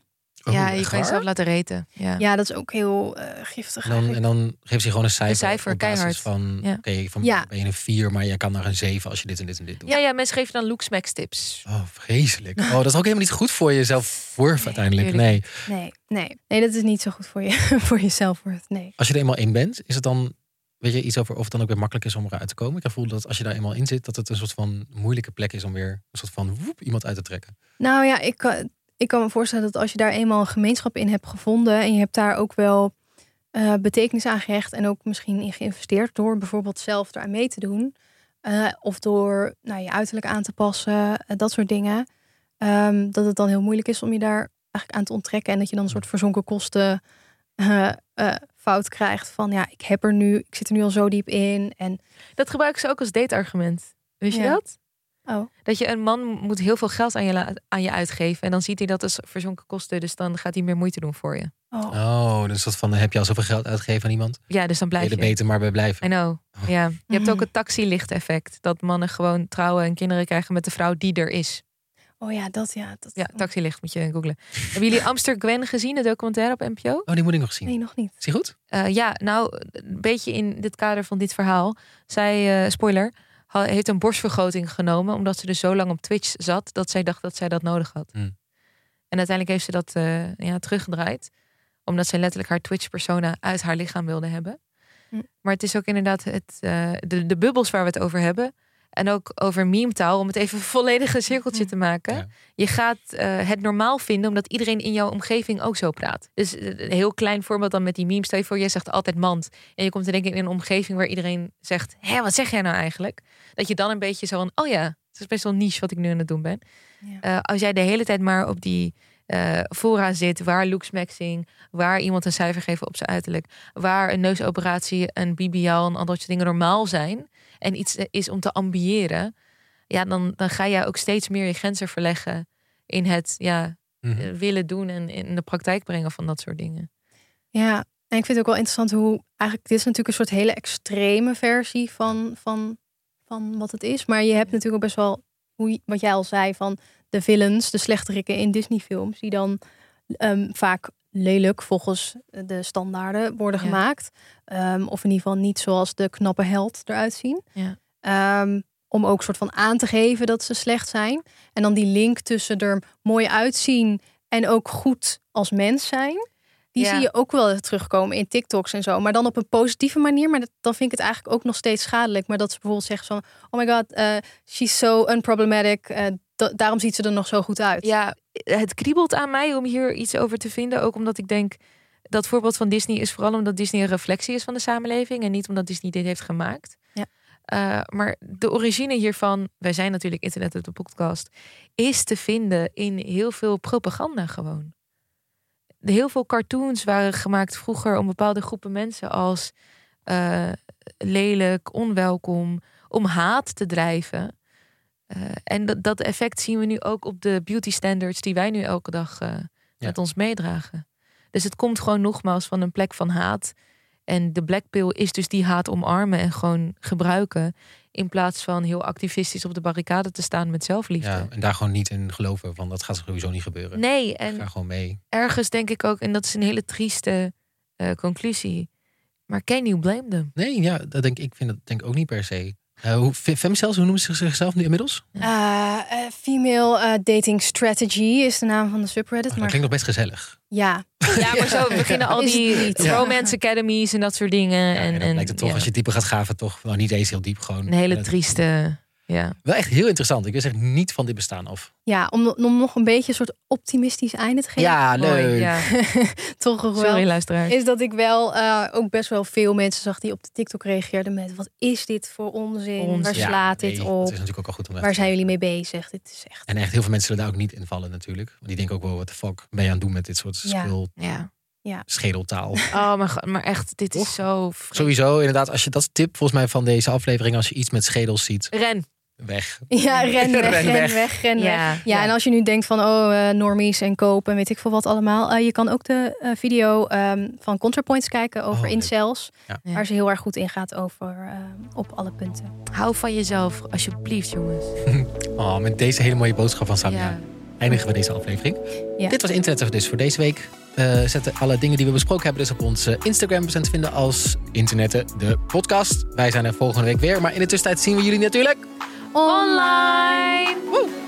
D: ja, je kan jezelf laten reten. Ja.
E: Ja, dat is ook heel eh, giftig.
C: En dan, en dan geeft hij gewoon een cijfer,
D: cijfer,
C: op basis
D: keihard.
C: van,
D: Ja.
C: oké, van
D: Ja.
C: ben je een 4, maar je kan naar een 7 als je dit en dit en dit doet.
D: Ja, ja, mensen geven dan looksmax tips.
C: Oh, vreselijk. Oh, dat is ook helemaal niet goed voor jezelf worth uiteindelijk. Nee.
E: Nee, nee. Nee, dat is niet zo goed voor, je, voor jezelf. Nee.
C: Als je er eenmaal in bent, is het dan, weet je iets over of het dan ook weer makkelijk is om eruit te komen? Ik voel dat als je daar eenmaal in zit, dat het een soort van moeilijke plek is om weer een soort van woep iemand uit te trekken.
E: Nou ja, ik kan, ik kan me voorstellen dat als je daar eenmaal een gemeenschap in hebt gevonden en je hebt daar ook wel eh, betekenis aan gehecht en ook misschien in geïnvesteerd door bijvoorbeeld zelf daar aan mee te doen eh, of door nou, je uiterlijk aan te passen, eh, dat soort dingen, ehm, dat het dan heel moeilijk is om je daar eigenlijk aan te onttrekken en dat je dan een soort verzonken kosten eh, eh, fout krijgt van ja, ik heb er nu, ik zit er nu al zo diep in en
D: Dat gebruiken ze ook als dateargument. Wist je
E: Ja.
D: dat?
E: Oh.
D: Dat je een man moet heel veel geld aan je, la- aan je uitgeven. En dan ziet hij dat als verzonken kosten. Dus dan gaat hij meer moeite doen voor je.
E: Oh,
C: dus dat van, heb je al zoveel geld uitgegeven aan iemand?
D: Ja, dus dan blijf
C: Wil je
D: je.
C: er beter maar bij blijven.
D: I know. Ja. Je hebt ook het taxilicht effect. Dat mannen gewoon trouwen en kinderen krijgen met de vrouw die er is.
E: oh ja, dat ja, dat
D: Ja, taxilicht moet je googlen. Hebben jullie Amster Gwen gezien, de documentaire op NPO?
C: Oh, die moet ik nog zien.
E: nee, nog niet.
C: Is die goed?
D: Eh, ja, nou, een beetje in dit kader van dit verhaal. Zij, eh, spoiler, ha- heeft een borstvergroting genomen. omdat ze dus zo lang op Twitch zat. dat zij dacht dat zij dat nodig had.
C: Hmm.
D: En uiteindelijk heeft ze dat eh, ja, teruggedraaid. omdat zij letterlijk haar Twitch-persona uit haar lichaam wilde hebben. Maar het is ook inderdaad het, eh, de, de bubbels waar we het over hebben. En ook over meme-taal, om het even een volledige cirkeltje te maken. Je gaat eh, het normaal vinden, omdat iedereen in jouw omgeving ook zo praat. Dus eh, een heel klein voorbeeld dan met die memes. Stel je voor, jij zegt altijd mand. En je komt in één keer in een omgeving waar iedereen zegt... hé, wat zeg jij nou eigenlijk? Dat je dan een beetje zo van... oh ja, het is best wel niche wat ik nu aan het doen ben. Eh, als jij de hele tijd maar op die eh fora zit... waar looks maxing, waar iemand een cijfer geven op zijn uiterlijk... waar een neusoperatie, een BBL en al dat soort dingen normaal zijn... en iets eh, is om te ambiëren... ja, dan, dan ga jij ook steeds meer je grenzen verleggen... in het ja,
E: Mhm.
D: eh, willen doen en in de praktijk brengen van dat soort dingen.
E: Ja, en ik vind het ook wel interessant hoe eigenlijk dit is natuurlijk een soort hele extreme versie van, van, van wat het is. Maar je hebt natuurlijk ook best wel, hoe, je- wat jij al zei, van de villains, de slechterikken in Disney-films, die dan ehm, vaak lelijk volgens de standaarden worden
D: Ja.
E: gemaakt. Ehm, of in ieder geval niet zoals de knappe held eruit zien.
D: Ja.
E: Ehm, om ook soort van aan te geven dat ze slecht zijn. En dan die link tussen er mooi uitzien en ook goed als mens zijn. Die
D: Ja.
E: zie je ook wel terugkomen in TikToks en zo. Maar dan op een positieve manier. Maar dat, dan vind ik het eigenlijk ook nog steeds schadelijk. Maar dat ze bijvoorbeeld zeggen van... Oh my god, eh, she's so unproblematic. eh, da- daarom ziet ze er nog zo goed uit.
D: Ja, het kriebelt aan mij om hier iets over te vinden. Ook omdat ik denk, dat voorbeeld van Disney is vooral omdat Disney een reflectie is van de samenleving. En niet omdat Disney dit heeft gemaakt.
E: Ja.
D: Eh, maar de origine hiervan, wij zijn natuurlijk internet op de podcast, is te vinden in heel veel propaganda gewoon. De Heel veel cartoons waren gemaakt vroeger om bepaalde groepen mensen als eh, lelijk, onwelkom, om haat te drijven. Eh, en dat, dat effect zien we nu ook op de beauty standards die wij nu elke dag eh, met ons meedragen. Dus het komt gewoon nogmaals van een plek van haat. En de black pill is dus die haat omarmen en gewoon gebruiken. In plaats van heel activistisch op de barricade te staan met zelfliefde.
C: Ja, en daar gewoon niet in geloven, want dat gaat sowieso niet gebeuren.
D: Nee, en
C: Ga gewoon mee.
D: ergens denk ik ook, en dat is een hele trieste eh, conclusie. Maar can you blame them?
C: Nee, ja, dat denk ik, ik vind dat denk ik ook niet per se. Eh hoe, fe- femcells, hoe noemen ze zichzelf nu inmiddels?
E: Eh, eh, female eh, dating strategy is de naam van de
C: Ah,
E: subreddit.
C: Dat
E: maar
C: klinkt nog best gezellig.
E: ja.
D: Ja, maar zo beginnen al
E: Is het
D: die
E: niet.
D: romance academies en dat soort dingen. en, en,
C: Lijkt het toch,
D: ja,
C: als je dieper gaat graven, toch nou, niet eens heel diep. Gewoon,
D: een hele
C: Eh,
D: trieste. Ja.
C: Wel echt heel interessant. Ik wist echt niet van dit bestaan af.
E: Ja, om, om nog een beetje een soort optimistisch einde te geven.
C: Ja, Mooi, Ah, leuk. ja.
E: Toch wel.
D: Sorry, luisteraars.
E: Is dat ik wel eh, ook best wel veel mensen zag die op de TikTok reageerden met... Wat is dit voor onzin?
C: Onzin.
E: Waar
C: Ja,
E: slaat
C: nee,
E: dit
C: dat
E: op?
C: is natuurlijk ook al goed om even
E: Waar
C: te
E: zijn jullie mee bezig? Dit is echt...
C: En echt heel veel mensen zullen daar ook niet in vallen natuurlijk. Want die denken ook wel, wat de fuck ben je aan het doen met dit soort
E: Ja.
C: spul,
D: Ja.
E: ja.
C: schedeltaal.
D: Oh, maar, maar echt, dit is zo... vreemd.
C: Sowieso, inderdaad, als je dat is tip volgens mij van deze aflevering, als je iets met schedels ziet,
D: Ren.
C: weg.
E: Ja, ren weg, ren weg, ren
D: Ja,
E: weg. Ja, en als je nu denkt van, oh, eh, normies en koop en weet ik veel wat allemaal. eh, je kan ook de eh, video ehm, van ContraPoints kijken
C: Oh,
E: over incels.
D: Ja.
E: Waar ze heel erg goed in gaat over, eh, op alle punten.
D: Hou van jezelf, alsjeblieft, jongens.
C: Oh, met deze hele mooie boodschap van Samia
D: Ja.
C: eindigen we deze aflevering.
D: Ja.
C: Dit was Internet of This voor deze week. Eh, zetten alle dingen die we besproken hebben dus op onze Instagram. We zijn te vinden als Internetten de podcast. Wij zijn er volgende week weer. Maar in de tussentijd zien we jullie natuurlijk...
E: Online!